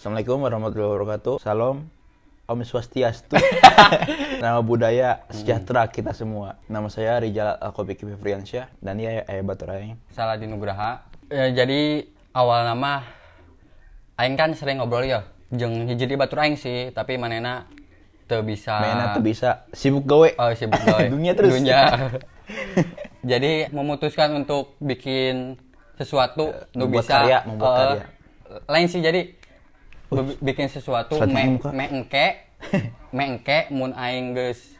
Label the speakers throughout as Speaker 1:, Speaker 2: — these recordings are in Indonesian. Speaker 1: Assalamualaikum warahmatullahi wabarakatuh. Salam. Om Swastiastu. Nama budaya
Speaker 2: Hmm.
Speaker 1: sejahtera kita semua. Nama saya Rijal Alkopiki Fevriansyah dan ia Ayah Baturai.
Speaker 2: Saladin Nugraha. Ya, jadi awal nama aing kan sering ngobrol ya. Jeung hiji di batur aing sih, tapi manena teu bisa
Speaker 1: Mainnya tuh bisa sibuk gawe.
Speaker 2: Oh, sibuk gawe.
Speaker 1: Dunia terus.
Speaker 2: Dunia. jadi memutuskan untuk bikin sesuatu nu
Speaker 1: Membuat
Speaker 2: bisa
Speaker 1: karya, membuat
Speaker 2: eh,
Speaker 1: karya.
Speaker 2: Lain sih jadi be- bikin sesuatu
Speaker 1: Suatu
Speaker 2: me,
Speaker 1: muka.
Speaker 2: me engke me engke mun aing geus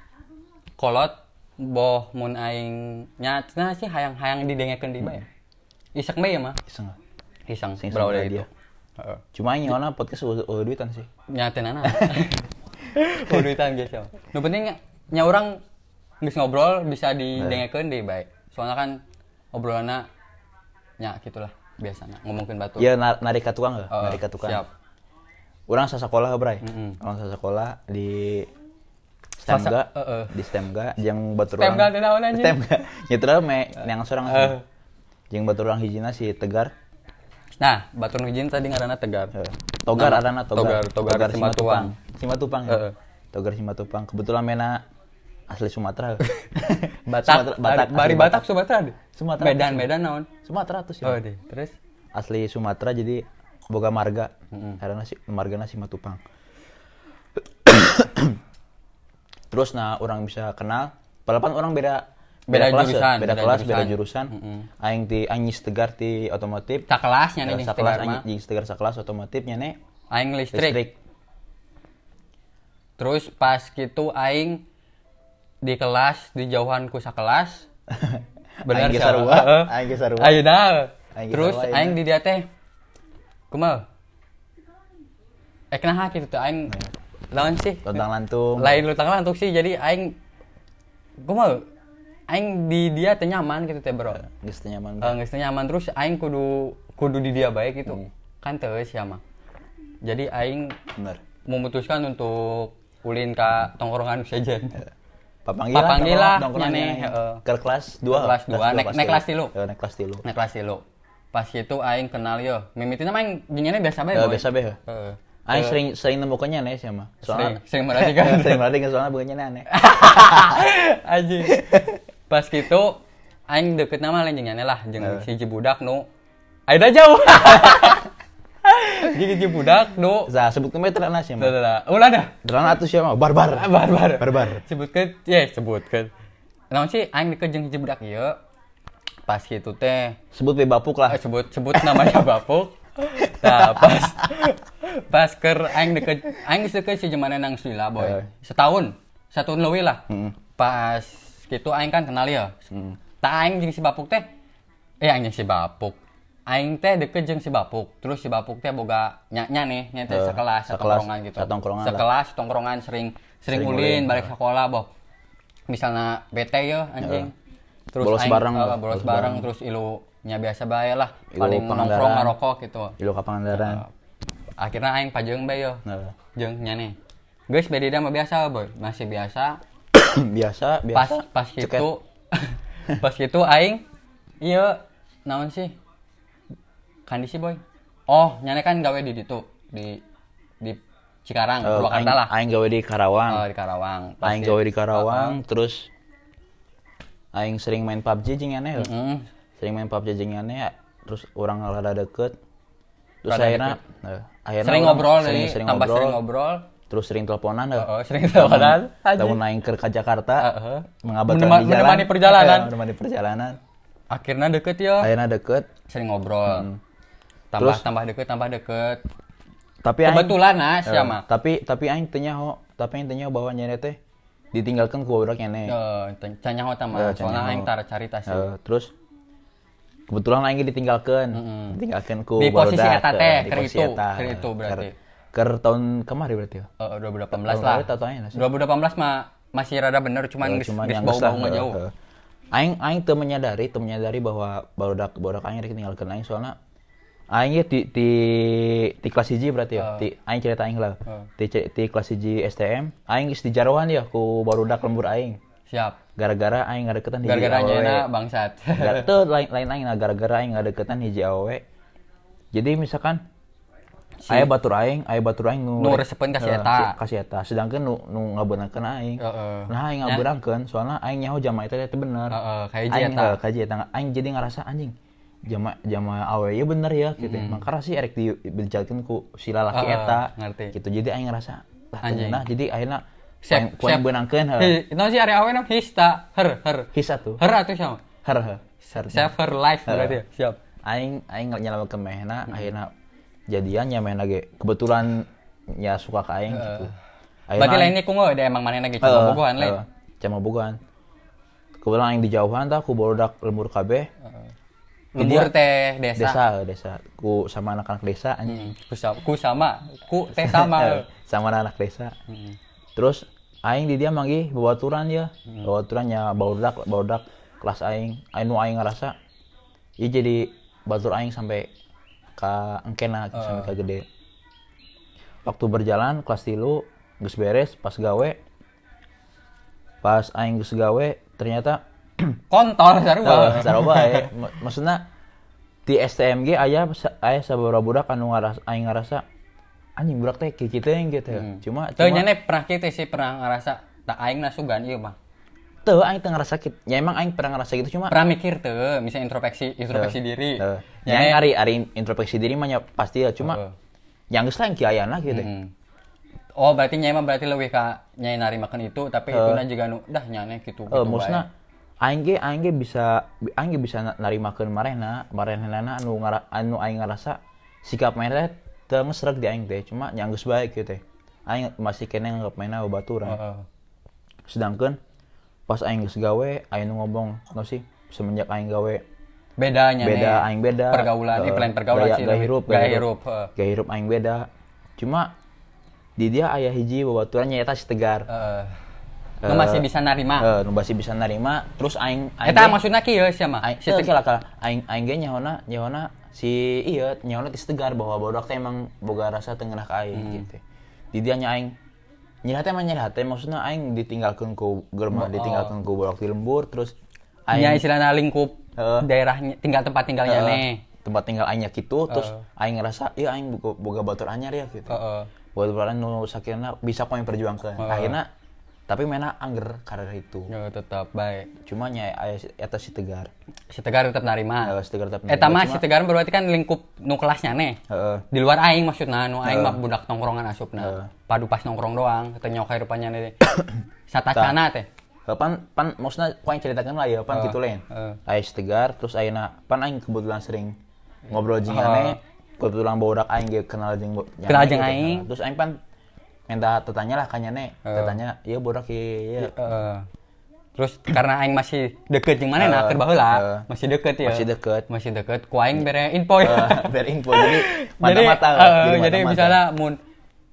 Speaker 2: kolot boh mun aing nya cenah sih hayang-hayang didengekeun di bae.
Speaker 1: Hmm.
Speaker 2: Isek mah ya mah.
Speaker 1: Iseng.
Speaker 2: Iseng
Speaker 1: Iseng
Speaker 2: berapa gitu.
Speaker 1: sama
Speaker 2: itu.
Speaker 1: dia. Cuma ini orang podcast udah udah duitan sih.
Speaker 2: nyatenan aja oh duitan guys ya nu penting nya orang nggak ngobrol bisa didengarkan deh baik soalnya kan obrolannya nya gitulah biasanya ngomongin batu
Speaker 1: Iya nar narik ka tukang nggak?
Speaker 2: Eh,
Speaker 1: narik ka tukang.
Speaker 2: siap
Speaker 1: Orang sasakola bray.
Speaker 2: Mm-mm.
Speaker 1: Orang sasakola di
Speaker 2: Sasa-
Speaker 1: Stemga,
Speaker 2: eh, eh.
Speaker 1: di Stemga, yang batu
Speaker 2: Stemga
Speaker 1: orang-
Speaker 2: teh naon anjing?
Speaker 1: Stemga, nyetra me yang seorang
Speaker 2: Eh.
Speaker 1: yang batu orang hijina si Tegar,
Speaker 2: nah batu nujin tadi ngarana tegar
Speaker 1: Eh, Togar
Speaker 2: Nama-
Speaker 1: arana Togar,
Speaker 2: Togar, Togar Simatupang.
Speaker 1: Simatupang ya.
Speaker 2: Eh, eh.
Speaker 1: Togar Simatupang. Kebetulan mena asli Sumatera. Sumatera,
Speaker 2: Batak, Batak,
Speaker 1: asli
Speaker 2: Bari Batak, Sumatera deh.
Speaker 1: Sumatera. Iya.
Speaker 2: Medan, Medan naon.
Speaker 1: Sumatera tuh sih.
Speaker 2: Oh deh, terus
Speaker 1: Asli Sumatera jadi boga marga. Karena si margana Simatupang. Terus nah orang bisa kenal, padahal orang beda
Speaker 2: Beda
Speaker 1: kelas, ya.
Speaker 2: jurusan,
Speaker 1: beda,
Speaker 2: beda
Speaker 1: kelas,
Speaker 2: jurusan.
Speaker 1: beda jurusan. Aing ti aing nyis tegar ti otomotif.
Speaker 2: tak kelasnya
Speaker 1: Sakelas
Speaker 2: nih yang tegar
Speaker 1: aing
Speaker 2: mah.
Speaker 1: nyis tegar sakelas otomotifnya nih.
Speaker 2: Aing listrik. Terus pas gitu aing di kelas dijauhan ku sakelas. Bener
Speaker 1: Aing ge
Speaker 2: sih.
Speaker 1: sarua,
Speaker 2: Heeh.
Speaker 1: aing ge sarua.
Speaker 2: Ayo dah.
Speaker 1: Aing ge
Speaker 2: Terus
Speaker 1: sarua, aing
Speaker 2: aing
Speaker 1: ge.
Speaker 2: di dia teh kumal. Eh kenapa gitu tuh aing lawan sih.
Speaker 1: Lontang lantung.
Speaker 2: Lain lutang lantuk sih jadi aing kumal aing di dia teh nyaman gitu teh bro.
Speaker 1: Geus teu nyaman.
Speaker 2: Eh, geus teu nyaman terus aing kudu kudu di dia baik
Speaker 1: Hmm.
Speaker 2: gitu. Kan teu sia mah. Jadi aing
Speaker 1: Bener.
Speaker 2: memutuskan untuk ulin ke tongkrongan sejen.
Speaker 1: Papanggilan,
Speaker 2: Papanggilan,
Speaker 1: nongkrong
Speaker 2: nyane,
Speaker 1: nyane.
Speaker 2: heeh.
Speaker 1: Ke kelas 2.
Speaker 2: Kelas dua, naik- naik kelas tilu.
Speaker 1: naik kelas tilu.
Speaker 2: Nah kelas dulu. Pas itu aing kenal yo. Mimitina mah aing ginyannya biasa bae.
Speaker 1: Eh,
Speaker 2: Boy.
Speaker 1: biasa bae, ya?
Speaker 2: Heeh.
Speaker 1: Aing sering sering nemukannya aneh sih mah. Soalnya
Speaker 2: Sering sering merhati kan.
Speaker 1: sering berarti kan soalnya bukannya aneh.
Speaker 2: Anjing. Pas gitu aing deket nama lain jeung nya lah jeung si budak nu Aida jauh. Jadi si budak nu
Speaker 1: Za sebutkeun bae terana sih mah.
Speaker 2: ulah dah.
Speaker 1: Terana atuh sih mah barbar.
Speaker 2: barbar
Speaker 1: Barbar.
Speaker 2: sebutkan ya sebutkan namun sih aing deket jeung hiji budak ieu pas gitu teh
Speaker 1: Sebut bae bapuk
Speaker 2: eh,
Speaker 1: lah.
Speaker 2: sebut sebut namanya bapuk nah pas pas ker aing deket aing geus deket si jemana nang Sila
Speaker 1: Heeh.
Speaker 2: boy setahun setahun leuwih lah
Speaker 1: Mm.
Speaker 2: pas gitu aing kan kenal ya tak aing jeung si bapuk teh eh aing jeung si bapuk aing teh deket jeung si bapuk terus si bapuk teh boga nya nya nih nya teh
Speaker 1: Heeh,
Speaker 2: sekelas
Speaker 1: sekelas,
Speaker 2: setongkrongan gitu
Speaker 1: satongkrongan lah.
Speaker 2: sekelas tongkrongan sering sering,
Speaker 1: Sering ulin,
Speaker 2: ulin balik sekolah boh misalnya bete ya anjing terus
Speaker 1: Bolos
Speaker 2: aing,
Speaker 1: bareng,
Speaker 2: eh,
Speaker 1: bolos
Speaker 2: bolos
Speaker 1: bareng.
Speaker 2: bareng terus ilu nya biasa bae lah
Speaker 1: Ilu
Speaker 2: paling
Speaker 1: Pangandaran.
Speaker 2: nongkrong ngerokok gitu Nah,
Speaker 1: Ilu ka Pangandaran.
Speaker 2: akhirnya aing pajeng bae yo
Speaker 1: Nah,
Speaker 2: jeung nya nih guys beda mah biasa boy masih biasa
Speaker 1: biasa, biasa.
Speaker 2: pas pas
Speaker 1: Ceket.
Speaker 2: gitu pas gitu aing iya naon sih kondisi boy oh nyane kan gawe di ditu di di Cikarang
Speaker 1: Eh,
Speaker 2: Purwakarta
Speaker 1: aing-
Speaker 2: lah
Speaker 1: Aing gawe di Karawang.
Speaker 2: Oh, di Karawang Pas
Speaker 1: Aing gawe di
Speaker 2: Uh-uh.
Speaker 1: Karawang, terus Aing sering main PUBG jeung aneh.
Speaker 2: Heeh. Mm,
Speaker 1: Sering main PUBG jeung aneh, terus orang rada deket. Terus
Speaker 2: Rada
Speaker 1: akhirnya, eh, akhirnya
Speaker 2: sering
Speaker 1: orang
Speaker 2: ngobrol
Speaker 1: sering,
Speaker 2: sering,
Speaker 1: sering
Speaker 2: tambah
Speaker 1: ngobrol,
Speaker 2: sering ngobrol
Speaker 1: terus sering teleponan. eh.
Speaker 2: Heeh, sering teleponan Anjing.
Speaker 1: Tahun naik ke, ke Jakarta,
Speaker 2: Heeh.
Speaker 1: mengabadikan
Speaker 2: Menema-
Speaker 1: di jalan.
Speaker 2: menemani perjalanan.
Speaker 1: Eh, menemani perjalanan.
Speaker 2: akhirnya deket ya
Speaker 1: Akhirnya deket,
Speaker 2: sering ngobrol
Speaker 1: Hmm.
Speaker 2: tambah
Speaker 1: Terus-
Speaker 2: tambah deket tambah deket
Speaker 1: tapi aing
Speaker 2: kebetulan
Speaker 1: eh,
Speaker 2: nah siapa
Speaker 1: tapi tapi aing tanya ho, tapi aing tanya bahwa nyere teh ditinggalkan ku budak
Speaker 2: Oh,
Speaker 1: nyere.
Speaker 2: Canyaho
Speaker 1: Eh,
Speaker 2: tambah, soalnya
Speaker 1: canyaho.
Speaker 2: aing tara carita sih.
Speaker 1: Eh, terus kebetulan aing ditinggalkan,
Speaker 2: Mm-mm.
Speaker 1: ditinggalkan ku
Speaker 2: Di posisi
Speaker 1: barudak,
Speaker 2: eta
Speaker 1: eh,
Speaker 2: teh,
Speaker 1: di
Speaker 2: keur
Speaker 1: posisi
Speaker 2: itu,
Speaker 1: eta.
Speaker 2: keur itu berarti.
Speaker 1: Keur keur tahun kemarin berarti. ya?
Speaker 2: Eh, 2018
Speaker 1: Tahun
Speaker 2: lah.
Speaker 1: lalu tatoannya lah sih.
Speaker 2: 2018 mah masih rada bener cuman
Speaker 1: Eh,
Speaker 2: geus
Speaker 1: cuman
Speaker 2: geus
Speaker 1: yang
Speaker 2: bau-bau
Speaker 1: geus lah,
Speaker 2: mah
Speaker 1: eh,
Speaker 2: jauh.
Speaker 1: eh. Aing aing teu menyadari, teu menyadari bahwa barudak barudak aing ditinggalkan aing soalnya aing ge ti ti ti kelas 1 berarti ya. Ti
Speaker 2: Eh.
Speaker 1: aing cerita aing lah. Ti ce- ti kelas 1 STM, aing geus dijarohan ya ku barudak lembur aing.
Speaker 2: Siap.
Speaker 1: Gara-gara aing ngadeketan hiji
Speaker 2: Gara-gara
Speaker 1: awewe.
Speaker 2: nyana bangsat.
Speaker 1: Gara- tuh lain lain aing nah gara-gara aing ngadeketan hiji awewe. Jadi misalkan Ayah batur aing, ayah batur aing nu
Speaker 2: Nu resepkeun ka Eh, si eta.
Speaker 1: Ka si eta. Sedangkan nu nu ngabeunangkeun aing.
Speaker 2: Heeh.
Speaker 1: Nah, aing ngabeunangkeun soalnya aing nyaho jama eta teh bener.
Speaker 2: Heeh, kayak
Speaker 1: Aing
Speaker 2: eh, eta.
Speaker 1: heeh, kaji eta aing jadi ngerasa anjing. Jama jama awe ieu bener ya gitu.
Speaker 2: Hmm.
Speaker 1: Makanya sih erek dibenjalkeun ku si lalaki
Speaker 2: Heeh,
Speaker 1: eta.
Speaker 2: Oh, eh, ngerti.
Speaker 1: Gitu. Jadi aing ngerasa lah
Speaker 2: Anjing.
Speaker 1: nah jadi akhirnya
Speaker 2: Siap,
Speaker 1: ku aing
Speaker 2: siap.
Speaker 1: beunangkeun heeh.
Speaker 2: Hi- Nah si area awe nam hista, her, her.
Speaker 1: Hisa tuh.
Speaker 2: Her atuh siapa?
Speaker 1: Her her. Her.
Speaker 2: Save her life berarti ya. Siap.
Speaker 1: aing aing nyelama ke mehna
Speaker 2: Hmm.
Speaker 1: akhirnya jadian nyamen lagi kebetulan ya suka ke aing gitu
Speaker 2: Eh. Bagi lain ini kungo deh emang gitu. mana lagi coba bogohan kan, lain.
Speaker 1: cuma eh, bogohan kebetulan aing di jauhan tah ku borodak lembur kabeh
Speaker 2: Lembur teh
Speaker 1: ya,
Speaker 2: desa.
Speaker 1: desa eh, desa ku sama anak-anak desa anjing
Speaker 2: Hmm, Ku sama, ku sama, ku teh
Speaker 1: Iya.
Speaker 2: sama.
Speaker 1: Eh, sama anak desa
Speaker 2: Hmm.
Speaker 1: terus aing di dia manggih babaturan ya
Speaker 2: Hmm.
Speaker 1: babaturan ya baudak baudak kelas aing aing nu aing ngerasa ieu jadi batur aing sampai ka engkena
Speaker 2: Eh.
Speaker 1: sampai ka gede waktu berjalan kelas tilu geus beres pas gawe pas aing geus gawe ternyata
Speaker 2: Kontol
Speaker 1: Tah,
Speaker 2: sarua.
Speaker 1: sarua bae. eh, Ma- maksudnya di STMG aya sa- aya sabaraha budak anu ngaras aing ngarasa anjing budak teh kieu kitu yang gitu. Cuma cuma-
Speaker 2: Tuh Hmm. nyane pernah kitu sih pernah ngerasa tak aing nasugan ieu mah.
Speaker 1: Tuh, aing teu ngerasa gitu. Ya emang aing pernah ngerasa gitu cuma eh, ya
Speaker 2: Pernah mikir tuh, misalnya introspeksi,
Speaker 1: Iya.
Speaker 2: introspeksi diri.
Speaker 1: Tuh.
Speaker 2: Nyane-
Speaker 1: Yang ari ari introspeksi diri mah nya pasti ya cuma yang geus lain kieu ayana gitu.
Speaker 2: Hmm. Oh, berarti nyai mah berarti lebih ka nyai nari makan itu, tapi
Speaker 1: Iya.
Speaker 2: itu na juga nu dah nyane gitu.
Speaker 1: Eh,
Speaker 2: gitu
Speaker 1: maksudna aing ge aing ge bisa aing ge bisa na- narimakeun marehna, marehnana anu ngara, anu aing ngerasa sikap mereka teu ngesreg di aing teh, cuma yang geus baik gitu teh. Aing masih kena nganggap mainna
Speaker 2: bae.
Speaker 1: baturan.
Speaker 2: Heeh.
Speaker 1: Sedangkan pas aing geus gawe, aing nu ngomong, "No sih, semenjak aing gawe
Speaker 2: Beda nyane.
Speaker 1: beda aing beda
Speaker 2: Pergaulan, eh,
Speaker 1: Eh,
Speaker 2: plan pergaulan
Speaker 1: gaya,
Speaker 2: sih.
Speaker 1: gaya
Speaker 2: lebih.
Speaker 1: hirup
Speaker 2: gaya hirup. heeh.
Speaker 1: gaya hirup aing beda cuma di dia ayah hiji babaturan nyaeta si tegar
Speaker 2: Heeh. Nu
Speaker 1: Iya.
Speaker 2: masih bisa narima.
Speaker 1: Eh, nu basi bisa narima terus aing aing
Speaker 2: Eta
Speaker 1: ge-
Speaker 2: maksudnya kieu sia mah.
Speaker 1: aing
Speaker 2: Si
Speaker 1: eh,
Speaker 2: Teg-
Speaker 1: kira kira aing aing ge nyahona nyahona si iya nyahona ti si tegar bahwa bodak teh emang boga rasa teu ngeunah ka
Speaker 2: Hmm.
Speaker 1: aing gitu di dia nya aing nyerah teh mah nyerah teh maksudnya aing ditinggalkeun ku
Speaker 2: Oh.
Speaker 1: germa ditinggalkeun ku bodak di lembur terus aing
Speaker 2: Nya istilahnya lingkup
Speaker 1: Heeh.
Speaker 2: daerahnya tinggal tempat
Speaker 1: eh,
Speaker 2: tinggal nyane.
Speaker 1: tempat tinggal aingnya gitu terus
Speaker 2: Oh.
Speaker 1: aing ngerasa iya aing boga, boga batur anyar ya gitu
Speaker 2: Heeh.
Speaker 1: buat bulan nu sakitnya bisa kau yang perjuangkan
Speaker 2: Oh.
Speaker 1: akhirnya tapi mana angger karir itu
Speaker 2: Ya tetap baik.
Speaker 1: cuma nya aya si- eta si tegar
Speaker 2: Si Tegar tetap narima.
Speaker 1: Eh, si tegar tapi
Speaker 2: Eta mah si Tegar berarti kan lingkup nu kelas nyane.
Speaker 1: Heeh.
Speaker 2: di luar aing maksudna nu aing mah budak nongkrongan asupna padu pas nongkrong doang teu nyawa kayak rupanya teh satacana teh
Speaker 1: Eh, pan pan maksudnya kau yang ceritakan lah ya
Speaker 2: Eh,
Speaker 1: pan gitu lain aya si tegar terus ayeuna pan aing kebetulan sering ngobrol jeung ane kebetulan bodak aing ge kenal jeung bo- nya
Speaker 2: Eh. Kenal
Speaker 1: ane
Speaker 2: jeung
Speaker 1: gitu.
Speaker 2: aing. Eh.
Speaker 1: terus aing pan minta tetanya lah kanya nih tetanya iya bodak iya
Speaker 2: Heeh. terus karena aing masih deket jeung mana nah keur baheula masih deket ya
Speaker 1: Masih deket.
Speaker 2: masih deket ku aing bere info ya
Speaker 1: berinfo jadi
Speaker 2: jadi
Speaker 1: mata-mata
Speaker 2: eh, jadi misalnya mun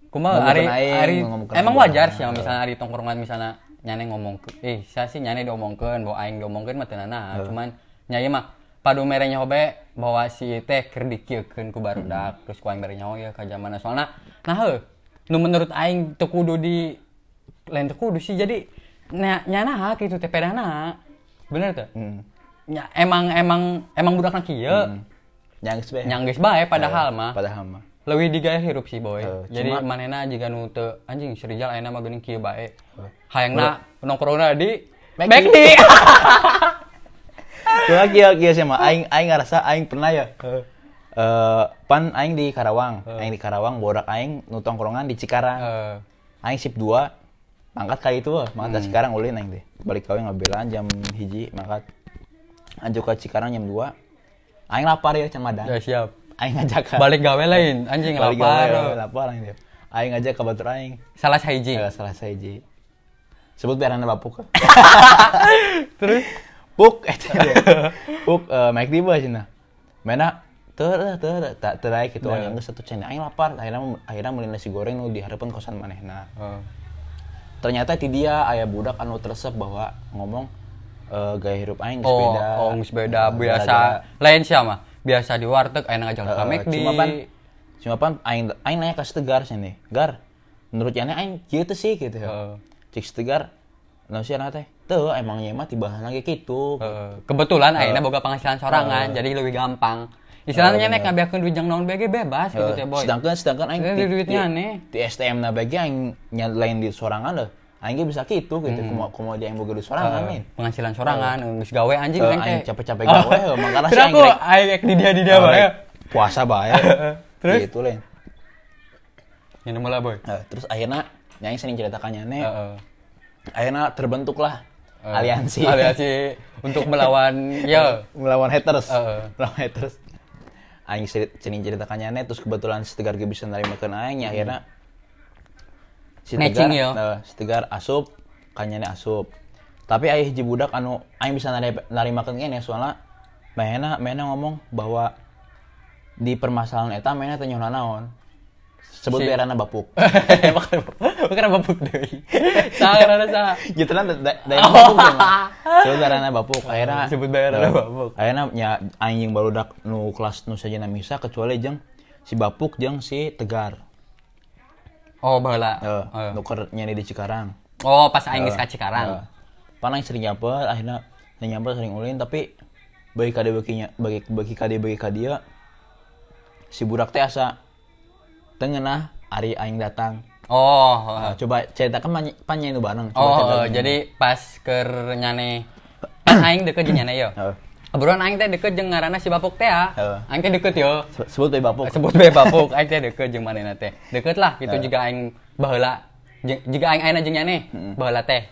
Speaker 2: kumaha
Speaker 1: Ngomongkeun
Speaker 2: ari
Speaker 1: aing,
Speaker 2: ari
Speaker 1: ngomongkeun
Speaker 2: emang
Speaker 1: aing
Speaker 2: wajar
Speaker 1: doang.
Speaker 2: sih misalnya ari tongkrongan misalnya nyane ngomong ke- eh saya sih nyane diomongkeun bahwa aing diomongkeun mah teu nana
Speaker 1: Eh.
Speaker 2: cuman nyai mah padu mere nyaho bae bahwa si teh keur dikiekeun ku barudak
Speaker 1: Hmm.
Speaker 2: terus ku aing mere nyaho ya ka jamanna soalna nah heuh nu menurut aing teu kudu di lain teu kudu sih jadi nya nyana kitu teh pedana bener teu
Speaker 1: Hmm.
Speaker 2: Nya, emang emang emang budakna kieu
Speaker 1: Hmm. nyangis bae
Speaker 2: Nya geus bae padahal
Speaker 1: Eh,
Speaker 2: mah
Speaker 1: padahal mah
Speaker 2: lebih digaya hirup sih boy
Speaker 1: Heeh, Eh,
Speaker 2: jadi
Speaker 1: cuma-
Speaker 2: manena jika nu teu anjing serijal ayeuna mah geuning kieu bae
Speaker 1: Eh.
Speaker 2: hayangna nongkrongna di Backdi
Speaker 1: Cuma kia kia sih mah aing aing ngerasa aing pernah ya.
Speaker 2: Eh,
Speaker 1: Eh pan aing di Karawang, aing di Karawang borak aing nu tongkrongan di Cikarang.
Speaker 2: Eh,
Speaker 1: Aing sip 2 mangkat kali itu wah, mangkat
Speaker 2: Hmm.
Speaker 1: dari Cikarang ulin aing teh. Balik kawe ngabelaan jam hiji mangkat. Anjuk ke Cikarang jam 2. Aing lapar ya can madan.
Speaker 2: ya siap
Speaker 1: Aing ngajak
Speaker 2: balik gawe lain anjing
Speaker 1: balik ya.
Speaker 2: lapar eh.
Speaker 1: lapar aing teh. Aing ngajak ka batur aing.
Speaker 2: salah hiji
Speaker 1: Ya, salah saya hiji. Sebut biarannya bapuk. Terus puk eta dia. Puk eh mic di bawah cina. Mana ter ter tak terai gitu
Speaker 2: Nah.
Speaker 1: yeah. yang satu cina aing lapar akhirnya akhirnya mulai nasi goreng nu diharapkan kosan manehna.
Speaker 2: Heeh.
Speaker 1: Ternyata ti dia aya budak anu tersep bahwa ngomong eh, gaya hirup aing geus
Speaker 2: oh
Speaker 1: beda.
Speaker 2: oh geus beda
Speaker 1: Eh,
Speaker 2: biasa lain sia mah biasa di warteg ayeuna ngajak
Speaker 1: Eh,
Speaker 2: ka McD
Speaker 1: cuma pan cuma pan aing aing nanya kasih tegar sini gar menurut yana aing kieu teh sih gitu ya
Speaker 2: Heeh.
Speaker 1: cik si tegar nah si anak teh tuh emangnya mah tiba lagi gitu Eh.
Speaker 2: Eh, kebetulan ayeuna boga penghasilan sorangan jadi lebih gampang Istilahnya nek ngabeakeun duit jeung naon bege bebas
Speaker 1: Eh,
Speaker 2: gitu teh boy. Eh,
Speaker 1: sedangkan sedangkan aing
Speaker 2: Sedangkan duitnya aneh.
Speaker 1: di STM na bagi aing nya lain di sorangan lah aing ge bisa gitu gitu
Speaker 2: Hmm.
Speaker 1: kumaha kumaha aja yang boga di
Speaker 2: Eh.
Speaker 1: sorangan nih
Speaker 2: Penghasilan sorangan geus gawe anjing
Speaker 1: Eh,
Speaker 2: kan? aing teh.
Speaker 1: aing capek-capek gawe, eh, makanya si Eh,
Speaker 2: Terus
Speaker 1: aing
Speaker 2: aku
Speaker 1: rek-
Speaker 2: aing rek di dia di dia bae.
Speaker 1: puasa bae
Speaker 2: ya. Eh, Terus?
Speaker 1: gitu lain
Speaker 2: Ini mula boy.
Speaker 1: Eh, terus akhirnya yang sering ceritakannya nih
Speaker 2: Heeh.
Speaker 1: akhirnya terbentuklah
Speaker 2: Eh,
Speaker 1: aliansi
Speaker 2: Aliansi untuk melawan ya.
Speaker 1: melawan haters
Speaker 2: Heeh.
Speaker 1: melawan haters aing cerit- cening ceritakannya nih terus kebetulan si tegar ge bisa nerima ke aing ya akhirnya si
Speaker 2: Hmm. Matching, ya? yo.
Speaker 1: eh, si tegar asup kanyane asup tapi ayah hiji budak anu aing bisa nari- narima ke ya soalnya mainnya mainnya ngomong bahwa di permasalahan eta mainnya tanya naon sebut
Speaker 2: Si-
Speaker 1: daerahnya bapuk
Speaker 2: Bukan babuk deui. Salah salah.
Speaker 1: gitu kan daerah bapuk sama. sebut daerahnya bapuk akhirnya
Speaker 2: Oh. Sebut daerahna bapuk.
Speaker 1: akhirnya nya anjing barudak nu kelas nu saja misa kecuali jeung si bapuk jeung si tegar
Speaker 2: Oh, baheula.
Speaker 1: eh
Speaker 2: Heeh.
Speaker 1: nuker nyari di Cikarang
Speaker 2: Oh, pas aing geus ka Cikarang.
Speaker 1: Eh, pan aing sering nyamper akhirnya sering nyamper sering ulin tapi bagi kade baginya bagi bagi kade bagi kadia si budak teh asa tengenah ari aing datang
Speaker 2: Oh, heeh.
Speaker 1: Nah, coba ceritakan pan- pan nyanyi nu bareng Eh. Coba ceritakan.
Speaker 2: Oh, oh, jadi pas keur nyane pas aing deket jeung nyane yo.
Speaker 1: Heeh.
Speaker 2: Kebetulan aing teh deket jeung ngaranna si Bapuk teh ya.
Speaker 1: Heeh.
Speaker 2: Aing teh deket yo.
Speaker 1: Se- sebut bae bapuk
Speaker 2: Eh,
Speaker 1: Eh.
Speaker 2: Sebut bae Bapuk, aing teh deket jeung manehna teh. Deket lah gitu juga aing baheula. Jeung- Jika aing ayeuna jeung nyane, baheula teh.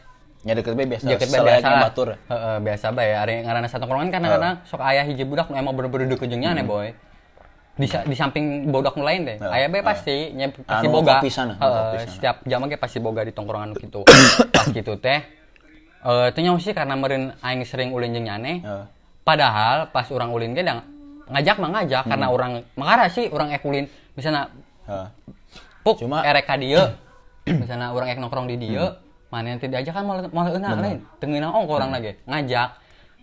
Speaker 1: nya Ya, deket bae biasa
Speaker 2: Jaket bae
Speaker 1: selaya
Speaker 2: biasa
Speaker 1: jeung
Speaker 2: lah.
Speaker 1: batur
Speaker 2: Heeh, biasa bae. Ari ngaranna satongkrongan
Speaker 1: Eh.
Speaker 2: kan kadang sok aya hiji budak nu emang bener-bener deket jeung nyane, boy. Di, sa- di samping bodak nu lain deh.
Speaker 1: Heeh.
Speaker 2: Aya bae pasti, nya pasti
Speaker 1: Eh. Anu
Speaker 2: boga.
Speaker 1: kopisan, anu
Speaker 2: Heeh,
Speaker 1: kopisan.
Speaker 2: setiap jam ge pasti boga di tongkrongan gitu. Pas gitu teh. Eh, itu nyaho sih karena meureun aing sering ulin jeung nyane.
Speaker 1: Heeh.
Speaker 2: Padahal pas orang ulin ge dang ngajak mah ngajak karena
Speaker 1: Hmm.
Speaker 2: orang makara sih orang ek ulin misalnya
Speaker 1: Heeh.
Speaker 2: puk
Speaker 1: Cuma- Hmm.
Speaker 2: erek ka dieu misalnya orang ek nongkrong di dieu manehna teh diajak kan malah malah enak lain tengeuna ongko urang lagi ngajak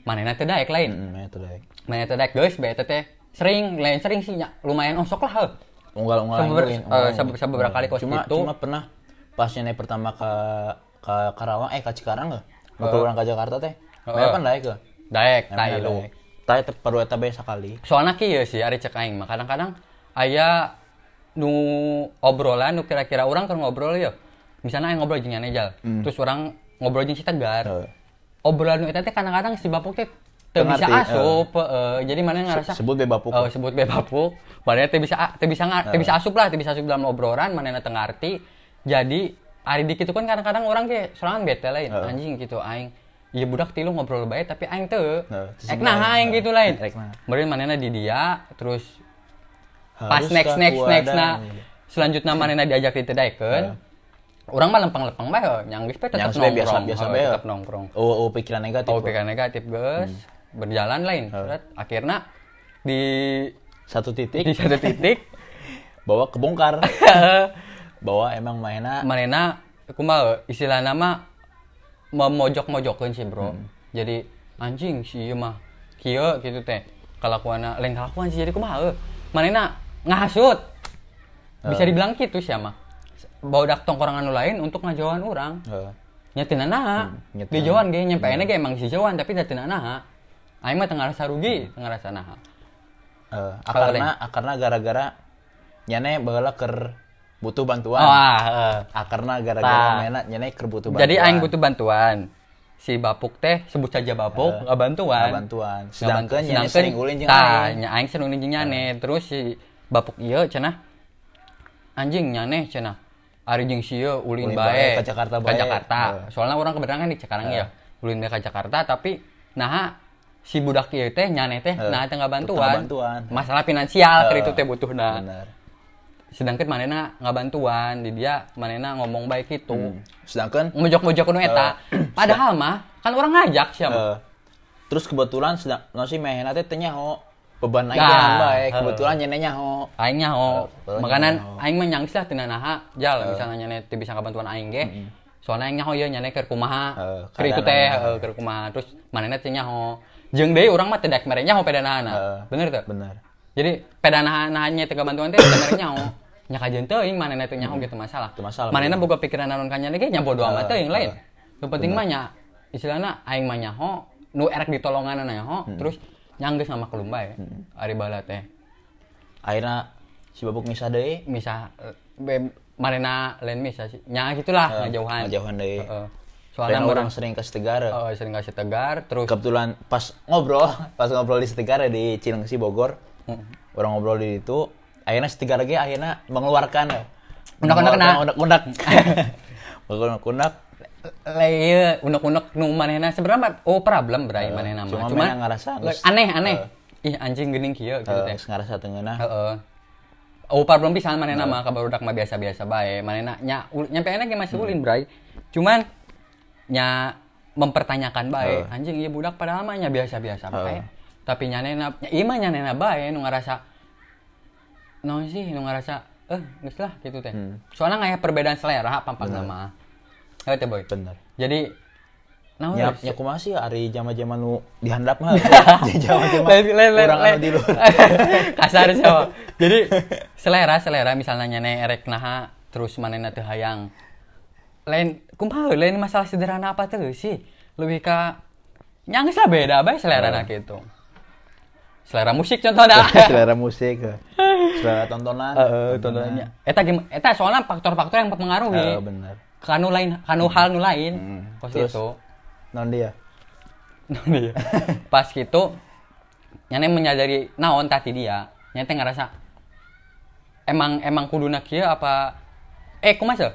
Speaker 2: manehna teh daek lain
Speaker 1: Hmm, ya itu deh.
Speaker 2: manehna teh daek geus bae teh teh sering lain sering sih nya, lumayan osok lah heuh
Speaker 1: Unggal unggal
Speaker 2: Sebeber- eh, sebe- sebeberapa kali kos
Speaker 1: cuma,
Speaker 2: gitu.
Speaker 1: Cuma pernah pas nyanyi pertama ke ke Karawang eh ke Cikarang nggak? Mau ke orang ke Jakarta teh?
Speaker 2: Heeh.
Speaker 1: Mana pan daek ke?
Speaker 2: daek Eh. tai lu
Speaker 1: Tapi terparu eta bae sekali.
Speaker 2: soalnya kieu sih ari cek aing mah kadang-kadang aya nu obrolan nu kira-kira orang keur ngobrol ya misalnya aing ngobrol jeung Nya Nejal terus orang ngobrol jeung si Tegar
Speaker 1: Heeh.
Speaker 2: obrolan nu eta teh kadang-kadang si Bapuk teh teu
Speaker 1: Teu
Speaker 2: bisa
Speaker 1: ngerti,
Speaker 2: asup heeh. jadi mana ngerasa
Speaker 1: Sebut bae bapuk.
Speaker 2: Oh, sebut bae bapuk. Padahal teh bisa teh bisa nga- teh bisa asup lah, teh bisa asup dalam obrolan, manehna teu ngarti. Jadi ari di kitu kan kadang-kadang orang ge sorangan bete lain anjing gitu aing. Iya budak tilu ngobrol bae tapi aing teu.
Speaker 1: Heeh, terus
Speaker 2: Rek nah aing gitu lain.
Speaker 1: Rek naha.
Speaker 2: Meureun manehna di dia terus pas
Speaker 1: Haruskah
Speaker 2: next next
Speaker 1: ku
Speaker 2: next
Speaker 1: ada-
Speaker 2: nah.
Speaker 1: Iya.
Speaker 2: na selanjutnya manehna diajak ditedaikeun. Orang mah lempeng-lempeng bae heuh, nyang geus bae tetep
Speaker 1: Yang sebenarnya biasa
Speaker 2: nongkrong.
Speaker 1: biasa
Speaker 2: heuh,
Speaker 1: bae.
Speaker 2: tetep nongkrong.
Speaker 1: Oh, oh pikiran negatif.
Speaker 2: OPK negatif geus berjalan lain. Surat akhirnya di
Speaker 1: Satu
Speaker 2: di
Speaker 1: titik
Speaker 2: satu titik
Speaker 1: bawa kebongkar. bawa emang mainnya
Speaker 2: manena kumaha istilah nama memojok-mojokeun sih bro jadi anjing si ieu mah kieu gitu teh kalakuanna lain kalakuan sih jadi kumaha manena ngahasut bisa dibilang gitu sih mah baudak tongkorongan nu lain untuk ngajauhan orang
Speaker 1: Heeh.
Speaker 2: nyetina naha
Speaker 1: nya teu
Speaker 2: di jauhan ge nyampeana ge emang si jauhan tapi nyetina naha aing mah teu ngarasa rugi teu ngarasa naha
Speaker 1: Eh,
Speaker 2: Kalau
Speaker 1: akarna akarna gara-gara nyane baheula keur butuh bantuan.
Speaker 2: wah eh.
Speaker 1: Akarna
Speaker 2: Tah.
Speaker 1: Ah, gara-gara mainnya nyane keur butuh bantuan.
Speaker 2: Jadi aing butuh bantuan. Si Bapuk teh sebut saja
Speaker 1: Eh,
Speaker 2: Bapuk nggak bantuan.
Speaker 1: nggak bantuan.
Speaker 2: Nggak
Speaker 1: Sedangkan
Speaker 2: bantuan.
Speaker 1: yang sering ulin jeung
Speaker 2: Tah,
Speaker 1: aing. Eh.
Speaker 2: nya aing sering ulin jeung nyane. Terus si Bapuk ieu cenah anjing nyane cenah. Ari jeung si ieu
Speaker 1: Ulin
Speaker 2: ulin, bae
Speaker 1: bae ka Jakarta
Speaker 2: Ka
Speaker 1: bae.
Speaker 2: Jakarta.
Speaker 1: Eh.
Speaker 2: Soalnya orang kebetulan kan di Cikarang ya. Ulin bae ka Jakarta tapi nah si budak ieu teh nyane teh
Speaker 1: Eh,
Speaker 2: nah teh nggak
Speaker 1: teu
Speaker 2: bantuan.
Speaker 1: ngabantuan.
Speaker 2: Masalah
Speaker 1: Eh,
Speaker 2: finansial keur itu teh butuhna
Speaker 1: Bener.
Speaker 2: sedangkan manena nggak bantuan di dia manena ngomong baik itu
Speaker 1: Hmm. Sedangkan
Speaker 2: mojok-mojok nu eta. Padahal mah kan orang ngajak sia mah.
Speaker 1: Eh, terus kebetulan sedang nasi mehena teh teh nyaho beban aing
Speaker 2: Nah,
Speaker 1: nah, baik
Speaker 2: eh.
Speaker 1: kebetulan nyana nyaho
Speaker 2: Aing nyaho,
Speaker 1: Eh,
Speaker 2: makanan
Speaker 1: nyaho.
Speaker 2: aing mah nyangis lah tina naha jal misalnya nyane teu bisa kabantuan aing ge. Soalnya aing nyaho ieu nyane keur kumaha.
Speaker 1: Eh,
Speaker 2: Keur itu
Speaker 1: kadang-
Speaker 2: teh eh, keur kumaha terus manehna teu nyaho. Jeung deui urang mah teu daek mere nyaho pedanahana.
Speaker 1: Eh.
Speaker 2: Bener teu?
Speaker 1: bener
Speaker 2: Jadi nah, pedanahana-nya teu kabantuan teh teu mere nyaho. Nya kajeun teuing manehna teu nyaho gitu masalah.
Speaker 1: Teu Hmm. masalah,
Speaker 2: Manehna boga pikiran naon ka nyane ge nya bodo amat teuing lain.
Speaker 1: eh.
Speaker 2: Nu penting mah nya istilahna aing
Speaker 1: Hmm.
Speaker 2: mah nyaho, nu erek ditolongan nyaho, terus nyanggeus sama kelum bae. ya. Ari bala teh.
Speaker 1: akhirnya si babuk misah deh
Speaker 2: misah eh, be- marena lain misah sih nya gitulah ngejauhan
Speaker 1: ngejauhan deui.
Speaker 2: Heeh. soalnya
Speaker 1: soalnya
Speaker 2: orang
Speaker 1: orang sering ke Setegara
Speaker 2: sering kasih tegar terus
Speaker 1: kebetulan pas ngobrol pas ngobrol di Setegara di Cilengsi Bogor
Speaker 2: Hmm.
Speaker 1: orang ngobrol di itu akhirnya Setegara ge akhirnya mengeluarkan
Speaker 2: Undak-undakna.
Speaker 1: undak undak undak undak eh,
Speaker 2: Leye unek-unek nu manehna sebenarnya oh problem bray manehna mah.
Speaker 1: Eh, cuma
Speaker 2: Cuman
Speaker 1: mana ngarasa geus-
Speaker 2: aneh aneh. Ih anjing geuning kieu gitu teh.
Speaker 1: Eh, ngarasa tengenah
Speaker 2: Heeh. Oh problem pisan manehna
Speaker 1: Eh.
Speaker 2: mah ka barudak mah biasa-biasa bae. Manehna nya ul- nyampeana ge masih ulin bray. Cuman nya mempertanyakan bae
Speaker 1: Heeh.
Speaker 2: anjing ieu budak padahal mah nya biasa-biasa bae.
Speaker 1: Heeh.
Speaker 2: Tapi nyanena nya ieu mah nyanena bae nu ngarasa naon sih nu ngarasa eh geus lah gitu teh.
Speaker 1: Hmm.
Speaker 2: Soalna ngaya perbedaan selera pampangna mah. Heuh teh boy.
Speaker 1: bener
Speaker 2: Jadi nah
Speaker 1: Ya,
Speaker 2: wes.
Speaker 1: ya kumaha sih ari jama-jama nu dihandap mah. Jama-jama
Speaker 2: Lain- lain- lain-
Speaker 1: kurang
Speaker 2: lain.
Speaker 1: anu di luar.
Speaker 2: Kasar siapa? Jadi selera selera misalnya nyane erek naha terus manena teu hayang. Lain kumaha lain masalah sederhana apa tuh sih? Lebih ke nyangis lah beda bae selera na gitu. Selera musik contohnya.
Speaker 1: Selera musik, eh. selera tontonan.
Speaker 2: Heeh, contohnya. Eta gim- eta soalnya faktor-faktor yang
Speaker 1: Heeh,
Speaker 2: mempengaruhi.
Speaker 1: Eh, bener. Hmm.
Speaker 2: Kanu lain, kanu hal nu lain. Kos
Speaker 1: Terus?
Speaker 2: itu.
Speaker 1: Non dia.
Speaker 2: Iya. pas gitu nyane menyadari naon tadi dia nyane teh ngerasa emang emang kuduna kieu apa eh kumaha sih?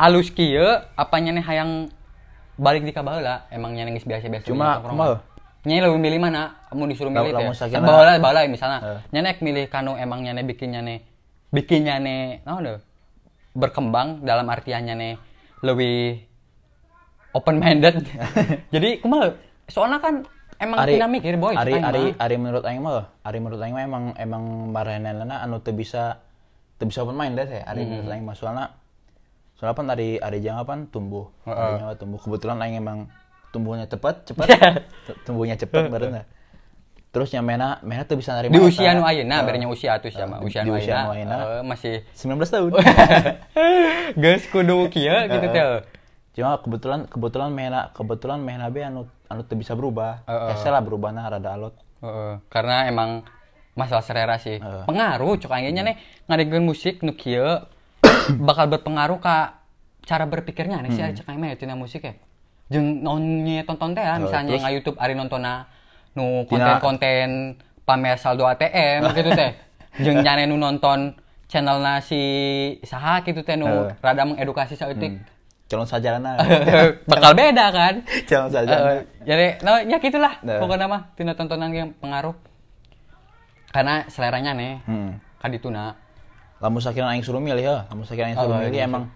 Speaker 2: alus kieu apa nyane hayang balik di kabaheula emang nyane geus biasa-biasa
Speaker 1: Cuma,
Speaker 2: di tongkrongan.
Speaker 1: kumaha?
Speaker 2: nyane lebih milih mana kamu disuruh
Speaker 1: Lah-
Speaker 2: milih
Speaker 1: lah
Speaker 2: teh
Speaker 1: mun sakina-
Speaker 2: baheula baheula misalnya
Speaker 1: Heeh.
Speaker 2: nyane ek milih kanu emang nyane bikin nyane bikin nyane naon deh berkembang dalam artian nyane lebih open minded jadi kumaha soalnya kan emang
Speaker 1: Ari
Speaker 2: tina mikir boy
Speaker 1: Ari
Speaker 2: cekang
Speaker 1: Ari
Speaker 2: mah.
Speaker 1: Ari menurut aing mah, Ari menurut aing mah emang emang baranana anu teu bisa teu bisa open minded ya. Ari menurut
Speaker 2: Hmm.
Speaker 1: aing mah soalna soalna pan ari ari jangan pan tumbuh. Ari nyawa tumbuh. Kebetulan aing emang tumbuhnya cepat, cepat. Tu- tumbuhnya cepat berenah. Terus nyamena mena teu bisa ya. narima
Speaker 2: di
Speaker 1: eta.
Speaker 2: usia nu ayeuna berenya usia atuh ya mah
Speaker 1: di-
Speaker 2: usia
Speaker 1: di
Speaker 2: nu
Speaker 1: usia nu
Speaker 2: ayeuna
Speaker 1: ayeuna.
Speaker 2: eh, masih
Speaker 1: 19 tahun.
Speaker 2: geus kudu kieu gitu teh
Speaker 1: Cuma kebetulan kebetulan mena kebetulan mena be anu anu teu bisa berubah.
Speaker 2: Heeh.
Speaker 1: Ese lah berubahna rada alot.
Speaker 2: Heeh, karena emang masalah selera sih
Speaker 1: Heeh.
Speaker 2: pengaruh cok ayeuna nih ngadengeun musik nu kieu bakal berpengaruh ka cara berpikirnya nih sih
Speaker 1: Hmm.
Speaker 2: ari cek aing mah ya tina musik ya jeung naonnya tonton teh ya, misalnya
Speaker 1: terus?
Speaker 2: nggak YouTube ari nontona nu
Speaker 1: Tina-
Speaker 2: konten-konten pamer saldo ATM gitu teh jeung nyane nu nonton channelna si saha gitu teh nu
Speaker 1: Heeh. Hmm.
Speaker 2: rada mengedukasi saeutik
Speaker 1: Calon sajarana.
Speaker 2: bakal beda kan
Speaker 1: Calon sajarana.
Speaker 2: Heeh. jadi no, ya gitulah
Speaker 1: Iya. Nah.
Speaker 2: pokoknya mah tina tontonan yang pengaruh karena seleranya nih kan
Speaker 1: Hmm.
Speaker 2: kadituna
Speaker 1: lamun sakiran aing suruh milih ya lamun sakiran aing suruh
Speaker 2: Oh,
Speaker 1: milih
Speaker 2: iya,
Speaker 1: emang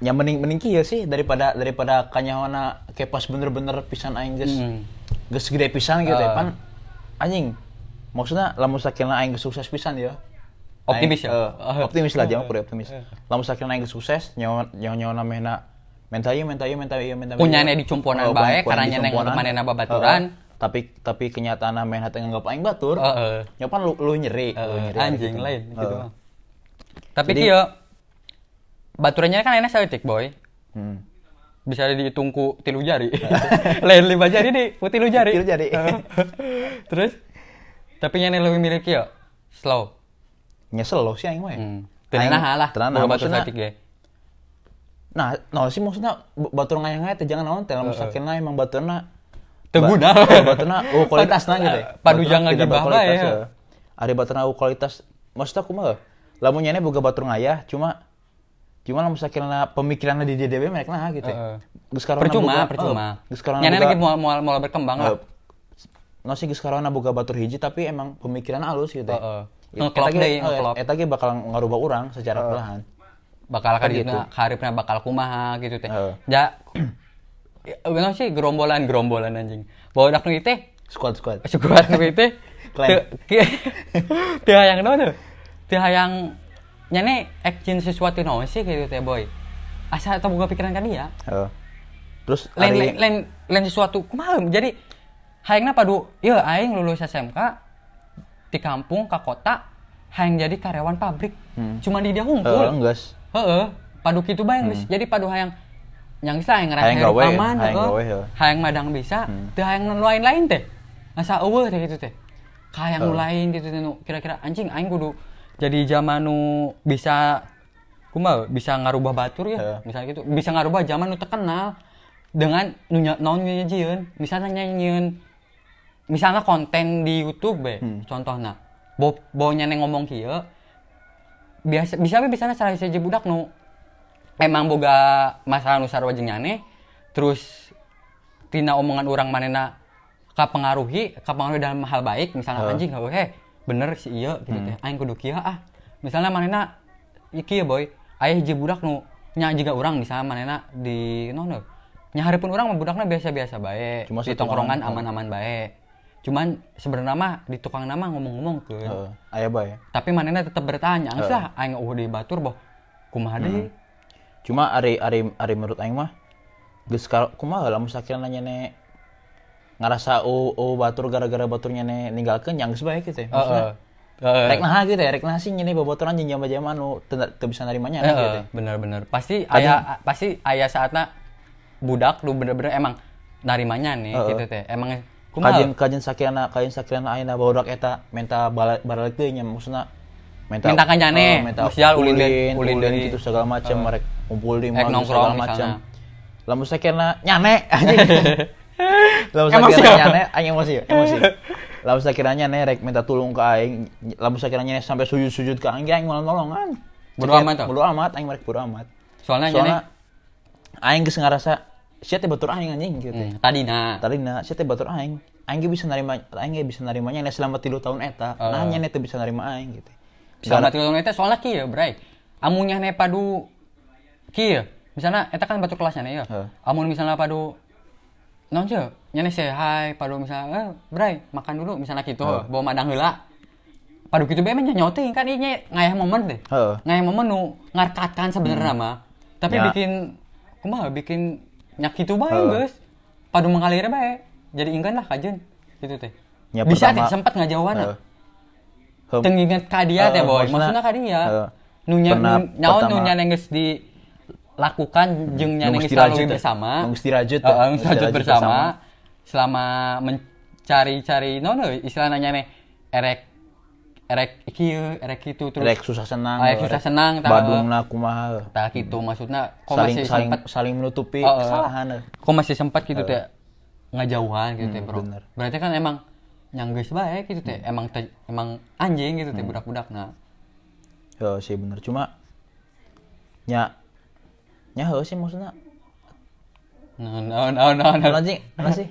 Speaker 1: yang mending mending kieu sih daripada daripada kanyawana kepas bener-bener pisan aing geus
Speaker 2: Mm.
Speaker 1: geus gede pisan gitu ya
Speaker 2: Ah.
Speaker 1: pan anjing maksudnya lamun sakiran aing geus sukses pisan ya
Speaker 2: Optimis
Speaker 1: Aing-
Speaker 2: ya? Eh,
Speaker 1: eh, optimis lah jangan kudu optimis lamun sakiran aing geus sukses nyawa nyawa nyawa namena menta ieu menta ieu menta ieu menta ieu.
Speaker 2: Punyanya dicumponan
Speaker 1: Oh,
Speaker 2: bae,
Speaker 1: punyanya
Speaker 2: karena nyana yang
Speaker 1: dicumponan.
Speaker 2: manehna babaturan.
Speaker 1: Eh, eh. tapi tapi kenyataan mena teu nganggap aing batur
Speaker 2: Heeh.
Speaker 1: Ya pan lu, lu nyeri, lu
Speaker 2: Eh,
Speaker 1: nyeri
Speaker 2: anjing
Speaker 1: gitu.
Speaker 2: lain gitu
Speaker 1: Heeh.
Speaker 2: mah. tapi
Speaker 1: Jadi-
Speaker 2: kieu baturannya kan enak saeutik boy
Speaker 1: Hmm.
Speaker 2: bisa dihitung ku tilu jari lain lima jari di ku tilu jari Eh,
Speaker 1: Tilu jari.
Speaker 2: terus tapi nyana lebih milih kieu slow
Speaker 1: Nyesel loh sih aing mah. ya.
Speaker 2: hmm.
Speaker 1: Aing-
Speaker 2: tenang lah
Speaker 1: tenan
Speaker 2: boga
Speaker 1: nah,
Speaker 2: batu
Speaker 1: maksudna-
Speaker 2: saeutik ge
Speaker 1: Nah, nah sih maksudnya b- batur ngayang teh jangan naon teh lamun sakitna emang baturna
Speaker 2: Eh, Teu
Speaker 1: ba-
Speaker 2: guna. eh,
Speaker 1: eh, Baturna uh kualitasna
Speaker 2: Padu-
Speaker 1: gitu. ya.
Speaker 2: padu
Speaker 1: Baturna
Speaker 2: jangan
Speaker 1: tidak
Speaker 2: gibah
Speaker 1: berkualitas,
Speaker 2: lah ya.
Speaker 1: Ari baturna uh kualitas maksudnya kumaha? Lamun nyane boga batur ngayah cuma cuma lamun sakitna pemikiranna di dia dewe mereka nah gitu.
Speaker 2: Heeh.
Speaker 1: ya. Geus karona
Speaker 2: Eh, percuma
Speaker 1: boga-
Speaker 2: percuma
Speaker 1: eh, Geus karona
Speaker 2: nyana
Speaker 1: boga-
Speaker 2: lagi mau mau mau berkembang lah
Speaker 1: Eh, no sih geus karona boga batur hiji tapi emang pemikiran alus gitu.
Speaker 2: Heeh.
Speaker 1: ya. Ya,
Speaker 2: Ngeklop
Speaker 1: eta ge-
Speaker 2: deui,
Speaker 1: eh,
Speaker 2: ngeklop.
Speaker 1: Eta ge bakal ngarubah urang secara perlahan.
Speaker 2: bakal
Speaker 1: kan
Speaker 2: kaditna karipna bakal kumaha gitu teh
Speaker 1: Heeh.
Speaker 2: ja Ya, Gimana sih gerombolan gerombolan anjing bawa udah nu teh
Speaker 1: Squad squad.
Speaker 2: syukuran nu teh
Speaker 1: Klan.
Speaker 2: teu- ki- teu hayang naon tuh teu hayang nyane action sesuatu naon sih gitu teh boy asa eta boga pikiran ka dia
Speaker 1: Heeh. Terus
Speaker 2: lain
Speaker 1: ari-
Speaker 2: lain lain, lain sesuatu kumaha jadi hayangna padu ieu Iya, aing lulus SMK di kampung ka kota hayang jadi karyawan pabrik cuma di dia
Speaker 1: Hmm. Heeh,
Speaker 2: humpul
Speaker 1: enggeus.
Speaker 2: heeh padu kitu bae geus. jadi padu hayang nyangis lah hayang
Speaker 1: Hmm. Hayang
Speaker 2: ngerasa
Speaker 1: gawe,
Speaker 2: taman
Speaker 1: hayang
Speaker 2: heeh.
Speaker 1: gawe, heeh.
Speaker 2: hayang madang bisa teu hayang lain lain teh asa eueuh teh gitu teh kayak nu lain gitu nu kira-kira anjing aing kudu jadi zaman nu bisa kumaha bisa ngarubah batur ya misalnya gitu bisa ngarubah zaman nu terkenal dengan nu nya- naon nyieun misalnya nyieun misalnya konten di YouTube be
Speaker 1: Hmm.
Speaker 2: contohna bo bonya neng ngomong kieu biasa bisa we bisa salah hiji budak nu emang boga masalah nusar wajeng nyane terus tina omongan orang manena kapengaruhi kapengaruhi dalam hal baik misalnya anjing heuh heh bener si iya gitu
Speaker 1: Hmm.
Speaker 2: teh aing kudu kieu ah misalnya manena iki ya boy aya hiji budak nu nya juga orang misalnya manena di nono nya hareupeun urang mah budakna biasa-biasa bae
Speaker 1: Cuma
Speaker 2: di
Speaker 1: satu
Speaker 2: tongkrongan
Speaker 1: orang.
Speaker 2: aman-aman bae cuman sebenarnya mah di tukang nama ngomong-ngomong ke
Speaker 1: Heeh. Aya bae.
Speaker 2: tapi manena tetap bertanya angsa lah aing eueuh di batur boh kumaha
Speaker 1: Hmm.
Speaker 2: deui
Speaker 1: Cuma ari ari ari menurut aing mah geus kal- kumaha lamun sakira nanya ne ngarasa oh, oh batur gara-gara baturnya ne ninggalkeun yang geus bae gitu ya. Maksudnya,
Speaker 2: Heeh. Heeh.
Speaker 1: Rek naha gitu ya, rek naha sih nyini babotoran jeung jama-jama nu teu teu bisa narimanya
Speaker 2: Heeh,
Speaker 1: gitu ya.
Speaker 2: bener-bener pasti ayah pasti ayah saatnya budak lu bener-bener emang narimanya nih gitu teh emang
Speaker 1: kajian
Speaker 2: kumaha
Speaker 1: kajian sakirana kajian sakirana ayeuna barudak eta menta bala- baralik deui nya maksudnya menta
Speaker 2: Menta ka nyane,
Speaker 1: eh, menta
Speaker 2: musial, ulin
Speaker 1: ulin
Speaker 2: deui,
Speaker 1: ulin,
Speaker 2: ulin deui.
Speaker 1: gitu segala macam mereka kumpul di
Speaker 2: Rek
Speaker 1: mall
Speaker 2: nongkrong
Speaker 1: segala macam
Speaker 2: misalnya.
Speaker 1: lamun sakirana nyane anjing lamun
Speaker 2: Emosi
Speaker 1: sakirana
Speaker 2: apa?
Speaker 1: nyane aing emosi ya, emosi lamun sakirana nyane rek minta tulung ke aing lamun sakirana nyane sampai sujud-sujud ke aing aing malah nolongan
Speaker 2: Bodo amat tau?
Speaker 1: bodo amat aing mereka bodo amat
Speaker 2: soalnya nyane
Speaker 1: soalnya aing geus ngarasa sia teh batur aing anjing gitu
Speaker 2: hmm, tadi nah
Speaker 1: tadi na saya teh batur aing aing ge bisa narima aing ge bisa narimanya nya selama 3 tahun eta nah
Speaker 2: Ah.
Speaker 1: nya teh bisa narima aing gitu
Speaker 2: sama tilu eta soalnya kieu bray amunnya ne padu kieu misalnya eta kan batur kelasnya nih ya
Speaker 1: Heeh.
Speaker 2: amun misalnya padu naon sih nyane say hi padu misalnya eh bray makan dulu misalnya gitu bawa madang heula padu gitu bae mah nya nyoting kan ieu nya ngayah momen deh
Speaker 1: Heeh.
Speaker 2: ngayah momen nu ngarkatkan sebenarnya mah tapi
Speaker 1: Ya.
Speaker 2: bikin kumaha bikin nyak kitu bae geus padu mengalir bae jadi ingkan lah kajen gitu teh
Speaker 1: Ya,
Speaker 2: bisa teh
Speaker 1: pertama-
Speaker 2: sempat ngajauhan
Speaker 1: Heeh. Hem.
Speaker 2: teu nginget ka dia
Speaker 1: Heeh,
Speaker 2: teh boy
Speaker 1: maksudna-
Speaker 2: maksudna ka dia
Speaker 1: heeh.
Speaker 2: nu
Speaker 1: Eh,
Speaker 2: nya
Speaker 1: Pernah
Speaker 2: nu- nyaon nu
Speaker 1: pertama-
Speaker 2: nya geus dilakukan jeung nya
Speaker 1: Nu
Speaker 2: geus
Speaker 1: geus dirajut
Speaker 2: selalu
Speaker 1: ya.
Speaker 2: bersama
Speaker 1: Nu geus dirajut ya.
Speaker 2: Heeh, nu
Speaker 1: Nu geus
Speaker 2: dirajut
Speaker 1: dirajut
Speaker 2: bersama
Speaker 1: bersama.
Speaker 2: selama mencari-cari nono istilahnya nya nih erek erek ikieu erek itu terus
Speaker 1: rek susah senang
Speaker 2: Ah, Rek susah senang, tah.
Speaker 1: badungna kumaha
Speaker 2: tah kitu gitu, maksudnya kok
Speaker 1: saling
Speaker 2: masih Oh,
Speaker 1: saling
Speaker 2: sempat
Speaker 1: saling menutupi
Speaker 2: Heeh.
Speaker 1: kesalahan
Speaker 2: kok masih sempat gitu teh ngejauhan gitu teh bro
Speaker 1: Hmm, bener. Hmm.
Speaker 2: berarti kan emang yang geus bae gitu teh emang teh- emang anjing gitu teh budak-budak nah
Speaker 1: Yo sih bener cuma nya nya heuh sih maksudnya
Speaker 2: no no no no, no.
Speaker 1: anjing apa sih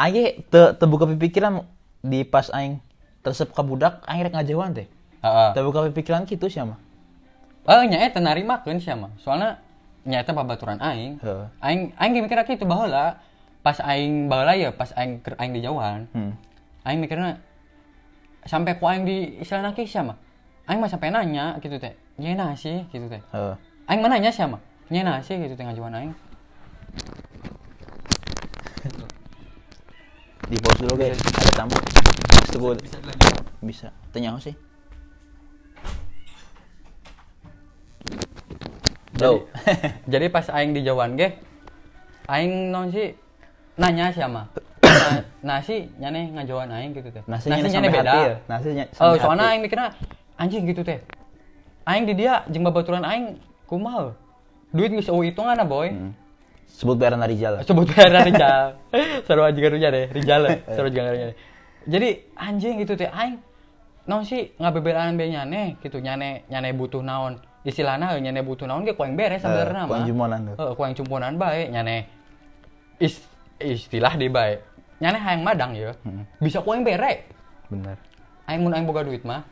Speaker 1: aing ge teu teu buka pikiran di pas aing tersep ka budak aing rek ngajauhan teh
Speaker 2: Heeh.
Speaker 1: teu buka pikiran kitu sia mah
Speaker 2: Eh nya eta narimakeun sia mah. Soalna nya eta babaturan aing.
Speaker 1: Heeh.
Speaker 2: Aing aing ge mikirna kitu baheula. Pas aing baheula ya pas aing keur aing di jauhan.
Speaker 1: Hmm.
Speaker 2: Aing mikirna sampai ku aing di istilahna ke sia mah. Aing mah sampai nanya gitu teh. Nya nah sih gitu teh.
Speaker 1: Heeh.
Speaker 2: Aing mah nanya sia mah. Nya nah sih gitu teh ngajuan aing.
Speaker 1: di pause dulu guys ada tamu Next gue bisa tanya apa sih
Speaker 2: Jadi,
Speaker 1: Jauh.
Speaker 2: jadi pas aing di jauhan ge aing non sih nanya sia mah. Nah, nasi nyane ngajuan aing gitu teh.
Speaker 1: nasi
Speaker 2: Nasinya
Speaker 1: sampai hati ya nasi
Speaker 2: Oh, soalnya aing mikirnya anjing gitu teh. Aing di dia jeung babaturan aing kumaha? Duit geus eueuh hitungan ah, boy.
Speaker 1: Hmm. sebut bayaran dari jalan
Speaker 2: Sebut bae Rijal. Sarua juga Rijal deh, Rijal. lah. Sarua juga Rijal. deh. Jadi anjing gitu teh aing naon sih ngabebelaan be nyane gitu nyane nyane butuh naon. Istilahna nyane butuh naon ge kueng beres sebenarnya
Speaker 1: kueng jumponan tuh.
Speaker 2: Heeh, kueng jumponan bae nyane is, istilah di bae. Nyane hayang madang ya. Bisa kueng bere.
Speaker 1: benar
Speaker 2: Aing mun aing boga duit mah.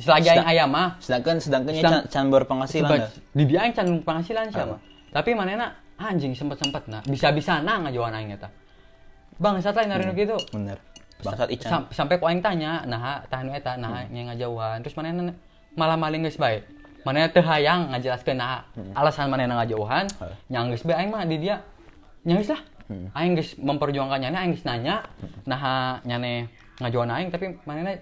Speaker 2: Selagi aing
Speaker 1: Sedang-
Speaker 2: aya mah
Speaker 1: sedangkan sedangkan
Speaker 2: Sedang-
Speaker 1: can, can berpenghasilan
Speaker 2: Sebab
Speaker 1: dah.
Speaker 2: di dia can penghasilan sih mah. Tapi manena anjing sempet-sempet nah, bisa-bisa nah ngajuan aing eta. Bang, saat lain hari nu
Speaker 1: Hmm.
Speaker 2: kitu.
Speaker 1: benar bangsat ican
Speaker 2: gitu.
Speaker 1: Hmm.
Speaker 2: Sam- sampai ku aing tanya, nah tah nu eta, nah nya ngajauhan. Terus manena malah maling geus bae. Manena teu hayang ngajelaskeun nah
Speaker 1: Hmm.
Speaker 2: alasan manena ngajauhan, nya geus bae aing mah di dia. Nya geus lah.
Speaker 1: Hmm.
Speaker 2: Aing geus memperjuangkan nyana, aing geus nanya, nah nyane ngajuan aing tapi manena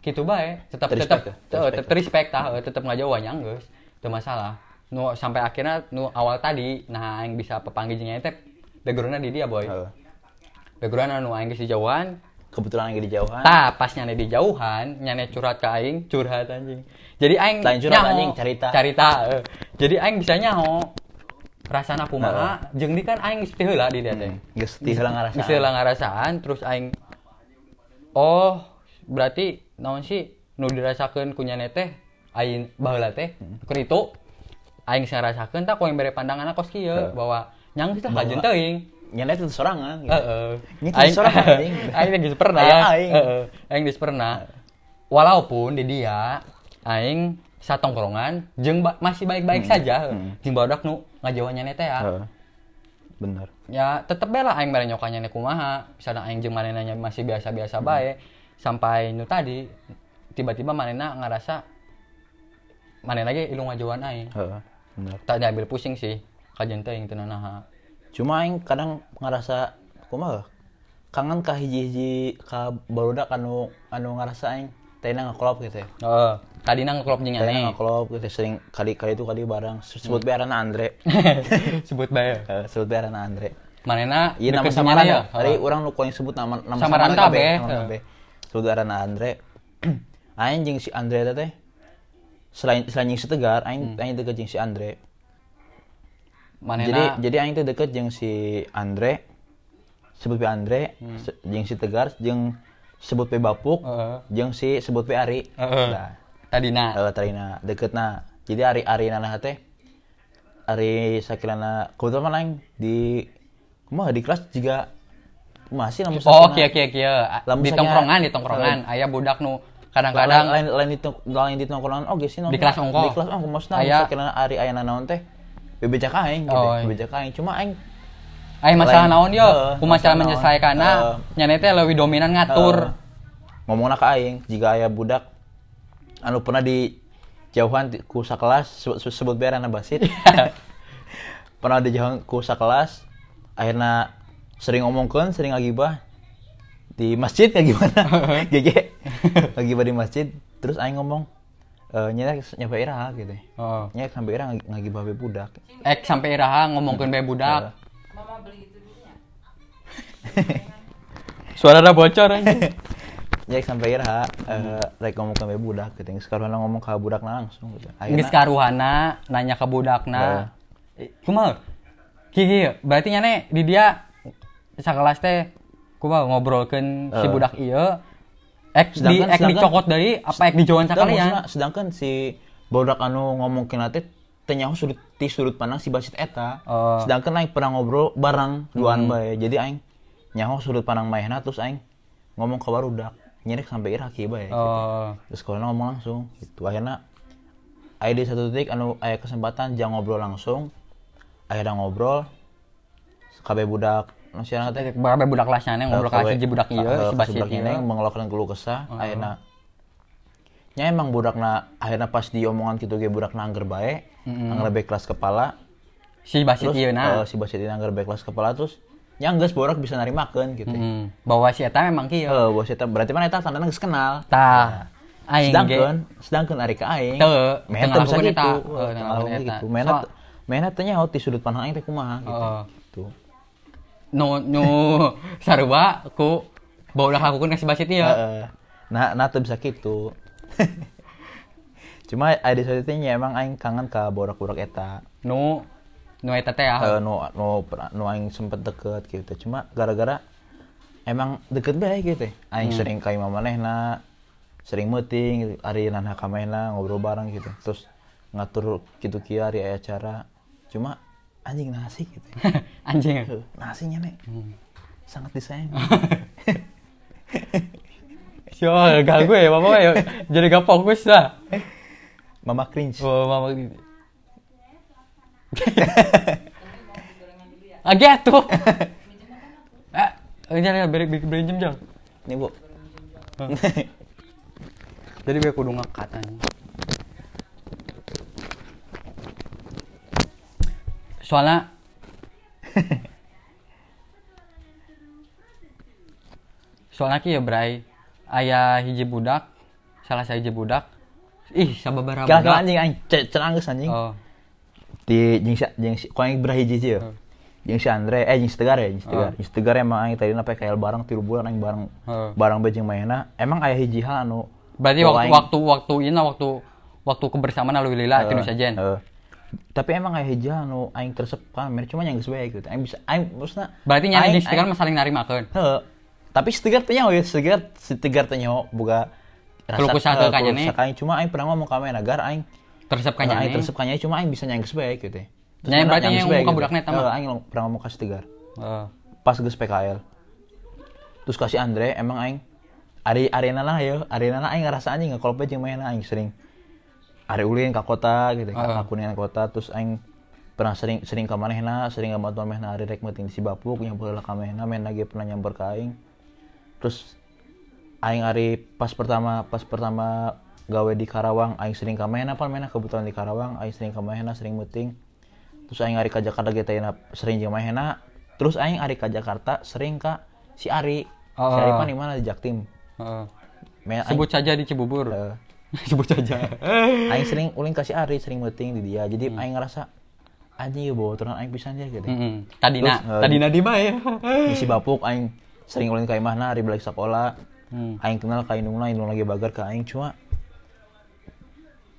Speaker 2: gitu bae tetap
Speaker 1: Terrespect
Speaker 2: tetap
Speaker 1: ya? Hmm.
Speaker 2: eh,
Speaker 1: Terrespect.
Speaker 2: tetap respect tah eh, tetap ngajauhan yang geus teu masalah nu sampai akhirnya nu awal tadi nah yang bisa pepanggilnya teh backgroundnya di dia boy
Speaker 1: Heeh.
Speaker 2: backgroundnya nu aing geus dijauhan
Speaker 1: kebetulan lagi di Jawa.
Speaker 2: Tah, pas nyane di jauhan, nyane curhat ke aing, curhat anjing. Jadi aing
Speaker 1: Lain curhat
Speaker 2: nyaho.
Speaker 1: anjing, carita.
Speaker 2: Carita. eh. Jadi aing bisa nyaho. Rasana kumaha? Jeung di kan aing geus teu heula di dieu teh.
Speaker 1: Hmm. Geus ti heula ngarasaan.
Speaker 2: Geus teu heula ngarasaan, terus aing Oh, berarti naon sih nu dirasakeun ku nyane teh aing baheula teh
Speaker 1: Hmm.
Speaker 2: keur itu aing geus ngarasakeun tah yang bere pandangan kos kieu
Speaker 1: Heeh.
Speaker 2: bahwa nyang geus lah
Speaker 1: Bahwa-
Speaker 2: hajeun teuing.
Speaker 1: Nyana itu sorangan. gitu.
Speaker 2: Heeh.
Speaker 1: Ini tuh seorang anjing.
Speaker 2: Aing geus pernah.
Speaker 1: Aya aing.
Speaker 2: Heeh. Aing geus pernah. Walaupun di dia aing satongkrongan jeung ba- masih baik-baik saja. Jeung barudak nu ngajawa nya teh ya.
Speaker 1: Hmm. Heeh. Bener.
Speaker 2: Ya tetep bae lah aing bare nyokanya nya kumaha. Misalnya aing jeung manehna masih biasa-biasa
Speaker 1: Hmm.
Speaker 2: bae sampai nu tadi tiba-tiba manehna ngarasa manehna lagi ilu ngajawaan aing.
Speaker 1: Heeh. Bener.
Speaker 2: Tak diambil pusing sih. Kajen teuing teu nanaha.
Speaker 1: Cuma aing kadang ngerasa kumaha? Kangen ka hiji-hiji ka barudak anu anu ngarasa aing tena ngaklop gitu ya.
Speaker 2: Heeh. Tadina ngeklop jeung
Speaker 1: Tena
Speaker 2: aneh.
Speaker 1: ngaklop gitu sering kali kali itu kali barang sebut hmm. bearan Andre.
Speaker 2: Sebut bae.
Speaker 1: Eh, sebut bearan Andre.
Speaker 2: Manena
Speaker 1: Iya nama
Speaker 2: deket Oh.
Speaker 1: samaran
Speaker 2: Jinyana
Speaker 1: ya. Hari
Speaker 2: Heeh.
Speaker 1: orang nu yang sebut nama nama
Speaker 2: Samaran
Speaker 1: kabeh,
Speaker 2: kabeh.
Speaker 1: nama kabeh. Sebut aran Andre. Aing jeung si Andre teh teh. Selain selain jeung si Tegar, aing aing deket jeung si Andre.
Speaker 2: Manena
Speaker 1: Jadi jadi aing teh deket jeung si Andre. Sebut pe Andre,
Speaker 2: Hmm.
Speaker 1: se- jeung si Tegar, jeung sebut pe Bapuk,
Speaker 2: Heeh.
Speaker 1: jeung si sebut pe Ari.
Speaker 2: Oh. Heeh.
Speaker 1: Nah,
Speaker 2: eh, tadina
Speaker 1: eh, tarina deketna. Jadi Ari Ari nana teh Ari sakilana kebetulan lain di mah di kelas juga masih namun
Speaker 2: Oh, kieu kieu kieu. A-
Speaker 1: Lamun
Speaker 2: Di
Speaker 1: misalnya-
Speaker 2: tongkrongan, di tongkrongan aya budak nu
Speaker 1: kadang
Speaker 2: kadang-kadang
Speaker 1: lain lain di tong- lain di tongkrongan oge sih
Speaker 2: Di kelas ongko.
Speaker 1: di kelas ongko maksudna
Speaker 2: Aya-
Speaker 1: sakilana Ari aya naon teh bebejak aing gitu
Speaker 2: Oh, iya.
Speaker 1: bebejak aing cuma aing
Speaker 2: aya Eh, masalah
Speaker 1: lain-
Speaker 2: naon yo,
Speaker 1: Heeh,
Speaker 2: kumaha cara
Speaker 1: masalah naon.
Speaker 2: menyelesaikanna,
Speaker 1: Heeh.
Speaker 2: nya teh leuwih dominan
Speaker 1: Tur
Speaker 2: ngatur.
Speaker 1: Eh, ngomongna ka aing jika aya budak anu pernah di jauhan di- ku sakelas sebut, sebut bear anak basit pernah di jauhan ku sakelas akhirnya sering ngomongkeun sering ngagibah di masjid kayak gimana gege ngagibah di masjid terus aing ngomong eh nyata nyampe ira gitu
Speaker 2: Heeh.
Speaker 1: nyata sampai ira ngag- ngagibah be budak
Speaker 2: Ek sampai iraha ngomongkeun bae
Speaker 1: Heeh.
Speaker 2: budak.
Speaker 3: Mama beli itu dulu ya.
Speaker 2: Suarana bocor anjing.
Speaker 1: nyata sampai ira eh rek ngomong ke budak gitu sekarang ngomong ke budak langsung gitu
Speaker 2: Geus karuhana nanya ke budakna. Eh, Kumaha? Kieu kieu. Berarti nya ne di dia sakelas teh kumaha ngobrolkeun si
Speaker 1: Heeh.
Speaker 2: budak ieu. Ek di
Speaker 1: Sedangkan-
Speaker 2: ek
Speaker 1: sedangkan-
Speaker 2: dicokot deui apa ek dijowan
Speaker 1: Sedangkan
Speaker 2: sakalian?
Speaker 1: maksudna- sedangkan si bodak anu ngomong kena teh teh nyaho sudut ti sudut pandang si Basit eta.
Speaker 2: Oh. Hmm.
Speaker 1: Sedangkan aing pernah ngobrol bareng duaan bae. Jadi aing nyaho sudut pandang maehna terus aing ngomong ke barudak nyerek sampai ira kieu bae.
Speaker 2: Oh.
Speaker 1: Terus kalau ngomong langsung gitu. Akhirnya aya di satu titik anu aya kesempatan jangan ngobrol langsung. Akhirnya ngobrol kabeh budak nu si anak teh
Speaker 2: Barabe budak kelasnya neng ngobrol kasih hiji budak
Speaker 1: Heeh,
Speaker 2: ieu
Speaker 1: ka
Speaker 2: si
Speaker 1: eh, si
Speaker 2: basit
Speaker 1: budak ini
Speaker 2: ieu.
Speaker 1: mengeluarkan keluh kesah akhirnya nya emang budakna akhirnya pas diomongan gitu ge budak angger bae angger bae kelas kepala
Speaker 2: Si basit
Speaker 1: terus eh,
Speaker 2: ieu na.
Speaker 1: si basit angger bae kelas kepala terus nya geus borak bisa narimakeun Eh, gitu heeh
Speaker 2: Hmm. Bahwa si eta memang kieu.
Speaker 1: bos eta berarti mana eta tandana geus kenal
Speaker 2: Tah. Aing ge
Speaker 1: sedangkan sedangkan ari ka aing
Speaker 2: Teu,
Speaker 1: mena
Speaker 2: teu
Speaker 1: bisa
Speaker 2: ngalakukeun
Speaker 1: gitu
Speaker 2: eta.
Speaker 1: Heeh,
Speaker 2: Heuh,
Speaker 1: teu
Speaker 2: teu
Speaker 1: ngalakukeun
Speaker 2: ngalakukeun
Speaker 1: gitu
Speaker 2: eta. Oh.
Speaker 1: mena
Speaker 2: Soal-
Speaker 1: mena teh nyaho oh, ti sudut pandang aing teh kumaha gitu
Speaker 2: Heeh.
Speaker 1: Tuh.
Speaker 2: nu nu sarua ku baulah lakukeun ka si basit ieu.
Speaker 1: Heeh. Nah, nah tuh bisa gitu. Cuma ada satu nya emang aing kangen ka borak-borak eta.
Speaker 2: Nu nu eta teh
Speaker 1: Eh,
Speaker 2: ah.
Speaker 1: nu nu pernah- nu aing sempet deket gitu. Cuma gara-gara emang deket bae gitu. Aing
Speaker 2: Hmm.
Speaker 1: sering ka imam manehna, sering meeting gitu. Ari nanha ka manehna, ngobrol bareng gitu. Terus ngatur gitu kia ari aya acara. Cuma anjing nasi gitu.
Speaker 2: anjing
Speaker 1: Nasinya nih
Speaker 2: Hmm.
Speaker 1: sangat disayang.
Speaker 2: siol gal gue ya mama ya jadi gak fokus dah
Speaker 1: Mama cringe.
Speaker 2: oh mama gini lagi tuh eh ini ada beri beri beri jam jam
Speaker 1: Nih, Bu.
Speaker 2: jadi gue kudu ngekat anjing. soalnya soalnya ki ya bray ayah hiji budak salah saya hiji budak ih sababaraha
Speaker 1: Kira-kira
Speaker 2: budak
Speaker 1: anjing aing cenang geus anjing.
Speaker 2: oh
Speaker 1: di jengsi jengsi kau yang berhiji sih ya jeung si Andre eh jeung si Tegar ya jeung
Speaker 2: Oh.
Speaker 1: si Tegar jeung si Tegar emang aing tadi nape kayak barang tilu bulan aing barang
Speaker 2: Heeh.
Speaker 1: barang bejeng mainna emang aya hiji hal anu
Speaker 2: oh. Berarti
Speaker 1: bahwa
Speaker 2: waktu
Speaker 1: aing-
Speaker 2: waktu waktu ini waktu waktu kebersamaan lalu
Speaker 1: Eh.
Speaker 2: lila itu bisa jen.
Speaker 1: Heeh. tapi emang aya hiji hal anu aing tersep kan mer cuma yang geus bae gitu aing bisa aing maksudna
Speaker 2: Berarti nyari
Speaker 1: aing-
Speaker 2: di stiker
Speaker 1: aing-
Speaker 2: mah saling nari makan.
Speaker 1: Heeh. eh. tapi si Tegar teh nyaho ya si Tegar si Tegar teh nyaho boga
Speaker 2: Kelukusan
Speaker 1: heeh,
Speaker 2: ke kanya
Speaker 1: kelukusan
Speaker 2: nih.
Speaker 1: ka aing. cuma aing pernah ngomong ka Amin agar aing
Speaker 2: Tersep kan
Speaker 1: Kanya
Speaker 2: kanya
Speaker 1: Nah, aing tersep kanya cuma aing bisa nyangges bae gitu. teh. Terus
Speaker 2: Nya,
Speaker 1: mana
Speaker 2: berarti
Speaker 1: nyangges
Speaker 2: yang
Speaker 1: bae
Speaker 2: muka
Speaker 1: gitu.
Speaker 2: budaknya eta mah?
Speaker 1: Heeh, aing lang- pernah ngomong kasih tegar.
Speaker 2: Oh,
Speaker 1: Pas geus PKL. Terus kasih Andre emang aing Ari arena lah ya, arena lah aing ngerasa anjing kalau jeung main aing sering. Ari ulin ke kota gitu kan,
Speaker 2: Heeh.
Speaker 1: ngakuningan kota terus aing pernah sering sering ka manehna, sering ka bantuan manehna ari rek meuting di Sibapuk nyampeurlah ka manehna, main lagi pernah nyamper ka aing. Terus aing ari pas pertama pas pertama gawe di Karawang aing sering ka Mahena pan Mahena kebetulan di Karawang aing sering ka Mahena sering meeting terus aing ari ka Jakarta ge teh na- sering jeung Mahena terus aing ari ka Jakarta sering ka si Ari si
Speaker 2: Oh.
Speaker 1: Ari pan di mana di Jaktim Main- aing,
Speaker 2: Sebut saja di Cibubur.
Speaker 1: eh,
Speaker 2: Sebut saja.
Speaker 1: aing sering uling ka si Ari sering meeting di dia jadi aing ngerasa anjing ya bawa turunan aing pisan ya gitu
Speaker 2: Mm-mm.
Speaker 1: Terus,
Speaker 2: Tadina,
Speaker 1: eh,
Speaker 2: Tadina di ya? bae.
Speaker 1: di Sibapuk aing sering ulin ka imahna hari balik sekolah
Speaker 2: Hmm.
Speaker 1: aing kenal ka indung indung lagi bagar ka aing cuma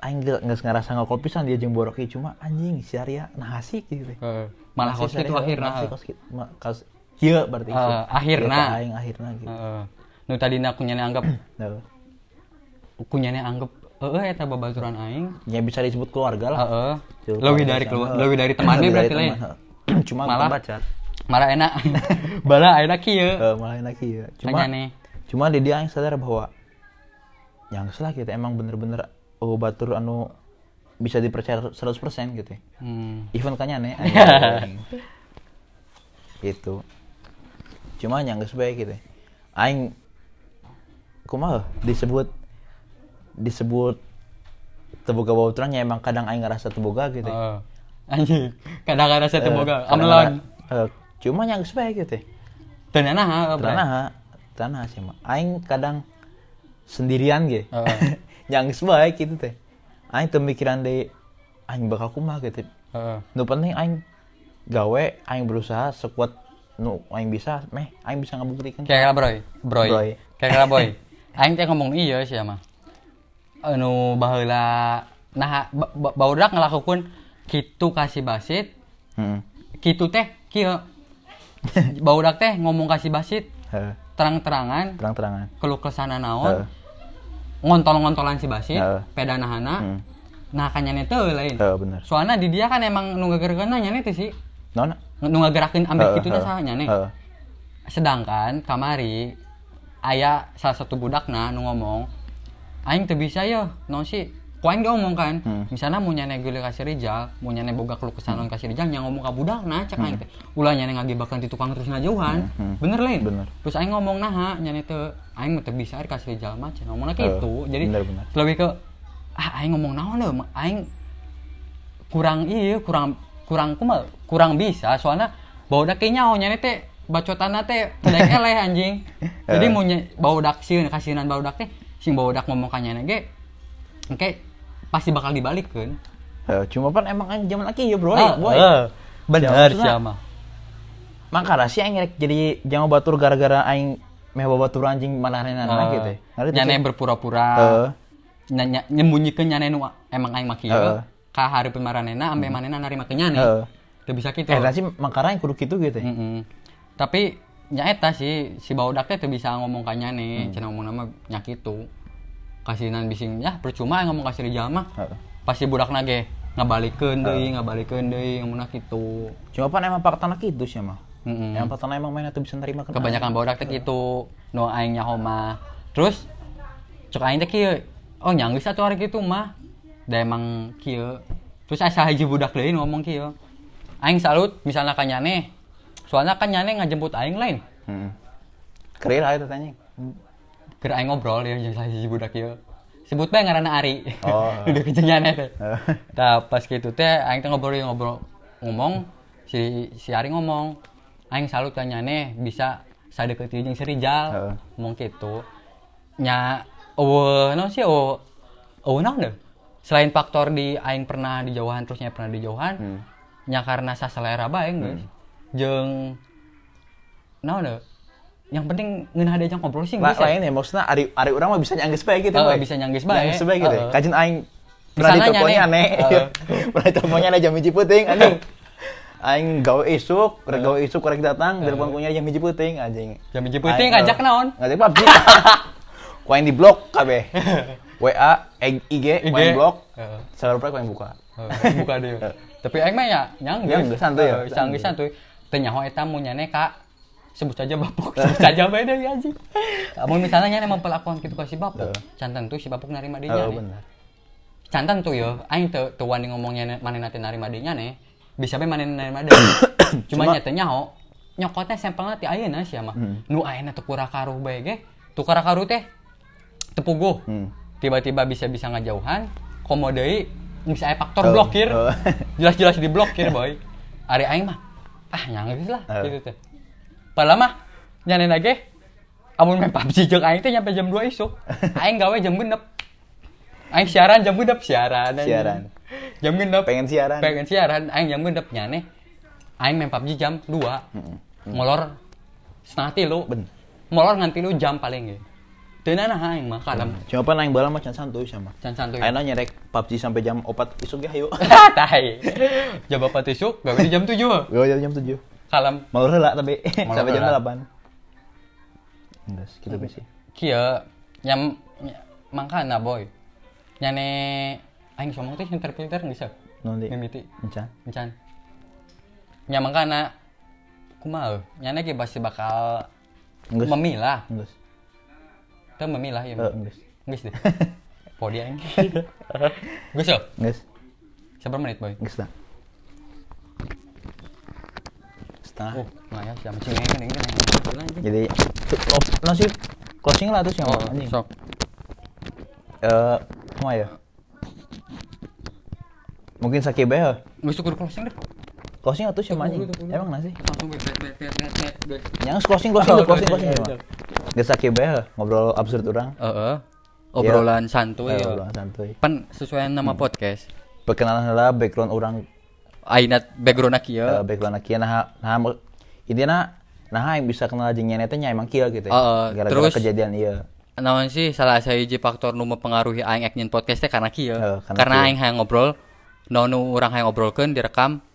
Speaker 1: aing ge- geus ngerasa ngokol pisan dia jeung boroki cuma anjing si Arya nah asik gitu teh.
Speaker 2: Malah
Speaker 1: Nah, si
Speaker 2: kos
Speaker 1: Arya,
Speaker 2: itu akhirna.
Speaker 1: nah, si kos kitu ma- kos kieu berarti
Speaker 2: Eh,
Speaker 1: kieu.
Speaker 2: akhirna.
Speaker 1: Kieu ka aing akhirna gitu
Speaker 2: Heeh. Eh, Nu tadina kunyanya anggap
Speaker 1: Nah,
Speaker 2: kunyanya anggap eh eta babaturan aing.
Speaker 1: ya bisa disebut keluarga lah
Speaker 2: Heeh.
Speaker 1: Jauh
Speaker 2: Lebih
Speaker 1: keluarga
Speaker 2: dari
Speaker 1: sih,
Speaker 2: keluar,
Speaker 1: heeh.
Speaker 2: lebih dari temannya
Speaker 1: Lebih dari
Speaker 2: berarti lain.
Speaker 1: teman, eh. heeh. cuma
Speaker 2: Malah-
Speaker 1: malah pacar
Speaker 2: Malah enak. Bala enak kieu.
Speaker 1: Eh, malah enak ya cuma
Speaker 2: Tanya nih.
Speaker 1: cuma di dia yang sadar bahwa yang salah gitu emang bener-bener oh batur anu bisa dipercaya 100% gitu ya.
Speaker 2: Hmm.
Speaker 1: even kan kanya nih gitu cuma yang geus bae gitu ya. aing kumaha disebut disebut teboga bauturannya emang kadang aing ngerasa teboga gitu ya.
Speaker 2: Heeh. Eh. Anjing, kadang-kadang saya temoga
Speaker 1: Eh,
Speaker 2: amlon.
Speaker 1: kadang-kadang, eh, cuma yang geus bae gitu ya.
Speaker 2: Dan naha
Speaker 1: tanah tanah sih mah aing kadang sendirian ge
Speaker 2: Heeh.
Speaker 1: yang sebaik gitu teh aing teu mikiran deui aing bakal kumaha gitu
Speaker 2: Heeh.
Speaker 1: nu penting aing gawe aing berusaha sekuat nu aing bisa meh aing bisa ngabuktikeun
Speaker 2: Kayak lah broy, broy.
Speaker 1: Broy.
Speaker 2: Kayak lah boy. Aing teh ngomong iya sih mah. Anu baheula nah ba- ba- baudak ngelakukan kitu kasih basit, Hmm.
Speaker 1: heeh
Speaker 2: kitu teh kieu. Baudak teh ngomong kasih basit
Speaker 1: Heeh.
Speaker 2: terang-terangan
Speaker 1: terang-terangan
Speaker 2: keluh
Speaker 1: heeh
Speaker 2: kesana naon, ngontol-ngontolan si basit,
Speaker 1: Heeh.
Speaker 2: pedanahana.
Speaker 1: Hmm.
Speaker 2: Nah kanyane teu lain.
Speaker 1: heeh bener
Speaker 2: Soalnya di dia kan emang nu gerak-gerakan nya teh sih.
Speaker 1: nona
Speaker 2: Nu ngagerakeun ambek kitu teh
Speaker 1: Heeh,
Speaker 2: saha nya nih.
Speaker 1: heeh.
Speaker 2: sedangkan kamari ayah salah satu budakna nu ngomong aing teu bisa yo non si ku aing diomong kan
Speaker 1: Hmm.
Speaker 2: misalnya mau nyane geulis ka si Rijal mau nyane boga keluh kesah naon ka si Rijal nya ngomong ka budakna cek aing teh ulah nyane ngagibakeun ti tukang terus najauhan
Speaker 1: Hmm, hmm.
Speaker 2: bener lain
Speaker 1: Bener.
Speaker 2: terus aing ngomong naha nyane teu aing mah teu bisa ari ka si Rijal mah cenah ngomongna
Speaker 1: Eh,
Speaker 2: kitu jadi
Speaker 1: bener, bener.
Speaker 2: lebih ke ah aing ngomong naon leuh Ma? aing kurang iya kurang kurang kumal kurang bisa soalnya bau dak nyaho nya teh bacotanna teh pedek eleh anjing jadi mau nye, bau dak sieun kasihanan bau dak teh sing bau dak ngomong ka nya ge engke pasti bakal dibalikeun
Speaker 1: Heeh, cuma pan emang aing zaman laki ya bro
Speaker 2: Ah,
Speaker 1: boy
Speaker 2: eh, bener
Speaker 1: Maksudna,
Speaker 2: siapa
Speaker 1: makanya sih aing rek jadi jangan batur gara-gara aing meh bawa batur anjing manahneunana gitu ya. Ngerti tuh Eh.
Speaker 2: Ah. nyane
Speaker 1: sih?
Speaker 2: berpura-pura
Speaker 1: Heeh.
Speaker 2: nya- nya- nyembunyikan nyane nu emang aing maki
Speaker 1: Heeh.
Speaker 2: ka hareupeun maranena ambe manena narima ke nyane
Speaker 1: Heeh.
Speaker 2: teu bisa kitu
Speaker 1: Hmm. Eh, nanti makanya yang kudu gitu gitu ya.
Speaker 2: Mm-mm. Tapi nyaeta sih si baudak teh teu bisa ngomong kanya nih, cenah ngomong nama nyak itu. Kasinan bising ya percuma yang ngomong kasih rijal mah.
Speaker 1: Heeh.
Speaker 2: Pasti budak nage ngabalikeun deui, ngabalikeun deui ngomongna kitu.
Speaker 1: Cuma pan emang fakta anak itu sih mah.
Speaker 2: Mm-mm.
Speaker 1: Yang fakta emang mainnya tuh bisa nerima kena.
Speaker 2: Hmm. Kebanyakan baudak teh kitu, nu aing nyaho mah. Terus cek aing teh kieu, oh nyanggeus satu hari kitu mah. Da emang kieu. Terus asa hiji budak deui ngomong kieu. Aing salut misalnya kanyane. Soalnya kanyane ngajemput aing lain.
Speaker 1: Heeh. Hmm. Keren lah itu tanya.
Speaker 2: Keur aing ngobrol ya jeung salah hiji budak ieu. Sebut bae ngaranna Ari.
Speaker 1: Oh.
Speaker 2: Udah kejengan teh.
Speaker 1: Heeh.
Speaker 2: Tah pas kitu teh aing teh ngobrol ngobrol ngomong si si Ari ngomong aing salut ka nyane bisa sadeket ieu jeung si
Speaker 1: Heeh.
Speaker 2: Rijal. Ngomong kitu. Nya eueuh naon sih eueuh eueuh naon deh? Selain
Speaker 1: Hmm.
Speaker 2: faktor di aing pernah dijauhan terusnya pernah dijauhan, nya karena saselera bae geus. jeng nah no, yang penting ngeunah diajak ngobrol sih
Speaker 1: La-
Speaker 2: bisa
Speaker 1: lain ya maksudnya ari ari urang mah bisa nyanggeus bae gitu
Speaker 2: Eh,
Speaker 1: Boy.
Speaker 2: bisa nyanggeus bae.
Speaker 1: Nyanggeus bae gitu
Speaker 2: Heeh.
Speaker 1: kajin aing
Speaker 2: Di
Speaker 1: pernah di
Speaker 2: sananya,
Speaker 1: tokonya
Speaker 2: Neng.
Speaker 1: aneh
Speaker 2: Heeh.
Speaker 1: pernah di tokonya ada jam hiji puting anjing aing gawe isuk rek gawe isuk rek datang dari pangkunya jam hiji puting anjing
Speaker 2: Jam hiji puting,
Speaker 1: Aing- eh,
Speaker 2: ngajak naon?
Speaker 1: ngajak PUBG ku aing di blok kabeh WA eh, IG ku aing blok
Speaker 2: Heeh.
Speaker 1: server ku aing buka
Speaker 2: Heeh, buka deh tapi aing mah ya
Speaker 1: Nyanggeus,
Speaker 2: nyanggeus
Speaker 1: santuy ya.
Speaker 2: Heeh, nyanggeus santuy teu nyaho eta mun nya ka sebut saja bapuk sebut saja bae deui anjing mun misalnya nya emang pelakuan kitu ka si bapuk
Speaker 1: Heeh.
Speaker 2: canten tuh si bapuk narima dinya
Speaker 1: oh
Speaker 2: nih.
Speaker 1: bener
Speaker 2: cantan tuh ya aing teu teu wani ngomongnya mana nanti narima dinya nih bisa bae mana narima deui
Speaker 1: Cuma-
Speaker 2: cuma
Speaker 1: Hmm.
Speaker 2: nya teu nyaho nyokotnya sampelna ti ayeuna sia mah nu ayeuna teu kurakaruh bae ge tu karakaruh teh tepuguh
Speaker 1: Hmm.
Speaker 2: tiba-tiba bisa-bisa ngajauhan komo deui geus aya faktor
Speaker 1: Oh,
Speaker 2: blokir
Speaker 1: oh.
Speaker 2: jelas-jelas diblokir boy ari aing mah ah nyanggeus lah
Speaker 1: Oh.
Speaker 2: gitu teh padahal mah nyanen lagi amun main PUBG jeung aing teh nyampe jam 2 isuk aing gawe jam genep aing siaran jam genep siaran anjing.
Speaker 1: Siaran.
Speaker 2: jam genep
Speaker 1: pengen siaran
Speaker 2: pengen siaran aing jam genep nyane aing main PUBG jam 2 molor setengah tilu
Speaker 1: Ben.
Speaker 2: molor nganti lu jam paling ge teu nanaha aing mah kalem
Speaker 1: cuma pan aing bala mah can santuy sama
Speaker 2: can santuy
Speaker 1: ayeuna nyerek PUBG sampai jam 4 isuk ya hayu
Speaker 2: tai jam bapak tisuk gawe di jam 7
Speaker 1: gawe jam 7
Speaker 2: kalem
Speaker 1: Malu heula tapi
Speaker 2: Malu
Speaker 1: sampai jam
Speaker 2: heula.
Speaker 1: 8. Enggak, gitu sih.
Speaker 2: kia nyam nya- mangkana boy nyane aing somong teh center filter geus
Speaker 1: Nanti.
Speaker 2: mimiti
Speaker 1: Encan.
Speaker 2: encan nya mangkana kumaha nyane ge pasti bakal
Speaker 1: Geus.
Speaker 2: memilah
Speaker 1: Enggak.
Speaker 2: teu memilah ya
Speaker 1: Eh, geus.
Speaker 2: geus deh podi aing geus yuk
Speaker 1: Geus.
Speaker 2: sabar menit boy
Speaker 1: Geus dah. Setengah.
Speaker 2: oh maya siapa cing aing kan aing kan aing anjing.
Speaker 1: Jadi tuh, oh, no sih closing lah terus yang
Speaker 2: oh
Speaker 1: anjing.
Speaker 2: sok
Speaker 1: Eh, mau ya? Mungkin sakit bae. heuh.
Speaker 2: geus kudu closing deh
Speaker 1: Closing atuh sama anjing.
Speaker 2: Tunggu dulu, tunggu dulu.
Speaker 1: Emang nasi?
Speaker 2: langsung bet bet bet bet bet bet
Speaker 1: Yang closing closing
Speaker 2: Oh,
Speaker 1: closing closing.
Speaker 2: closing, iya,
Speaker 1: closing,
Speaker 2: iya.
Speaker 1: Bang. Geus sakit bae heuh. ngobrol absurd orang.
Speaker 2: Heeh. Obrolan santuy.
Speaker 1: Eh,
Speaker 2: ya.
Speaker 1: obrolan Hmm. santuy.
Speaker 2: Pan sesuai nama podcast.
Speaker 1: Perkenalan heula background orang
Speaker 2: Aina background
Speaker 1: uh,
Speaker 2: kieu.
Speaker 1: background kia nah nah mo- intinya nah yang bisa kenal jeung nyana teh nya emang kieu gitu ya.
Speaker 2: Heeh,
Speaker 1: gara-gara
Speaker 2: terus-
Speaker 1: kejadian iya
Speaker 2: Naon sih salah sahiji faktor nu mempengaruhi aing eknyin podcast teh karena kieu.
Speaker 1: Heeh, karena
Speaker 2: karena
Speaker 1: kieu.
Speaker 2: aing hayang ngobrol, naon nu urang hayang ngobrolkeun direkam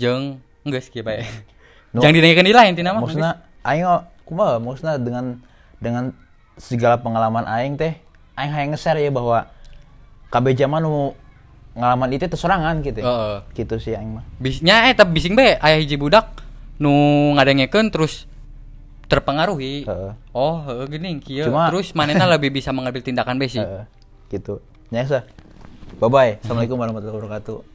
Speaker 2: jeung geus kieu bae.
Speaker 1: Nu-
Speaker 2: Jangan didengarkan di lain tina mah.
Speaker 1: maksudnya aing o- kumaha maksudnya dengan dengan segala pengalaman aing teh aing hayang nge-share ya bahwa kabeh zaman nu ngalaman itu terserangan gitu ya.
Speaker 2: Heeh.
Speaker 1: gitu sih aing mah
Speaker 2: Bisnya eh tapi bising bae aya hiji budak nu ngadengekeun terus terpengaruhi.
Speaker 1: Heeh.
Speaker 2: Oh, heeh geuning kieu.
Speaker 1: Cuma-
Speaker 2: Terus manehna lebih bisa mengambil tindakan bae sih.
Speaker 1: Heeh, gitu nyesa bye bye assalamualaikum warahmatullahi wabarakatuh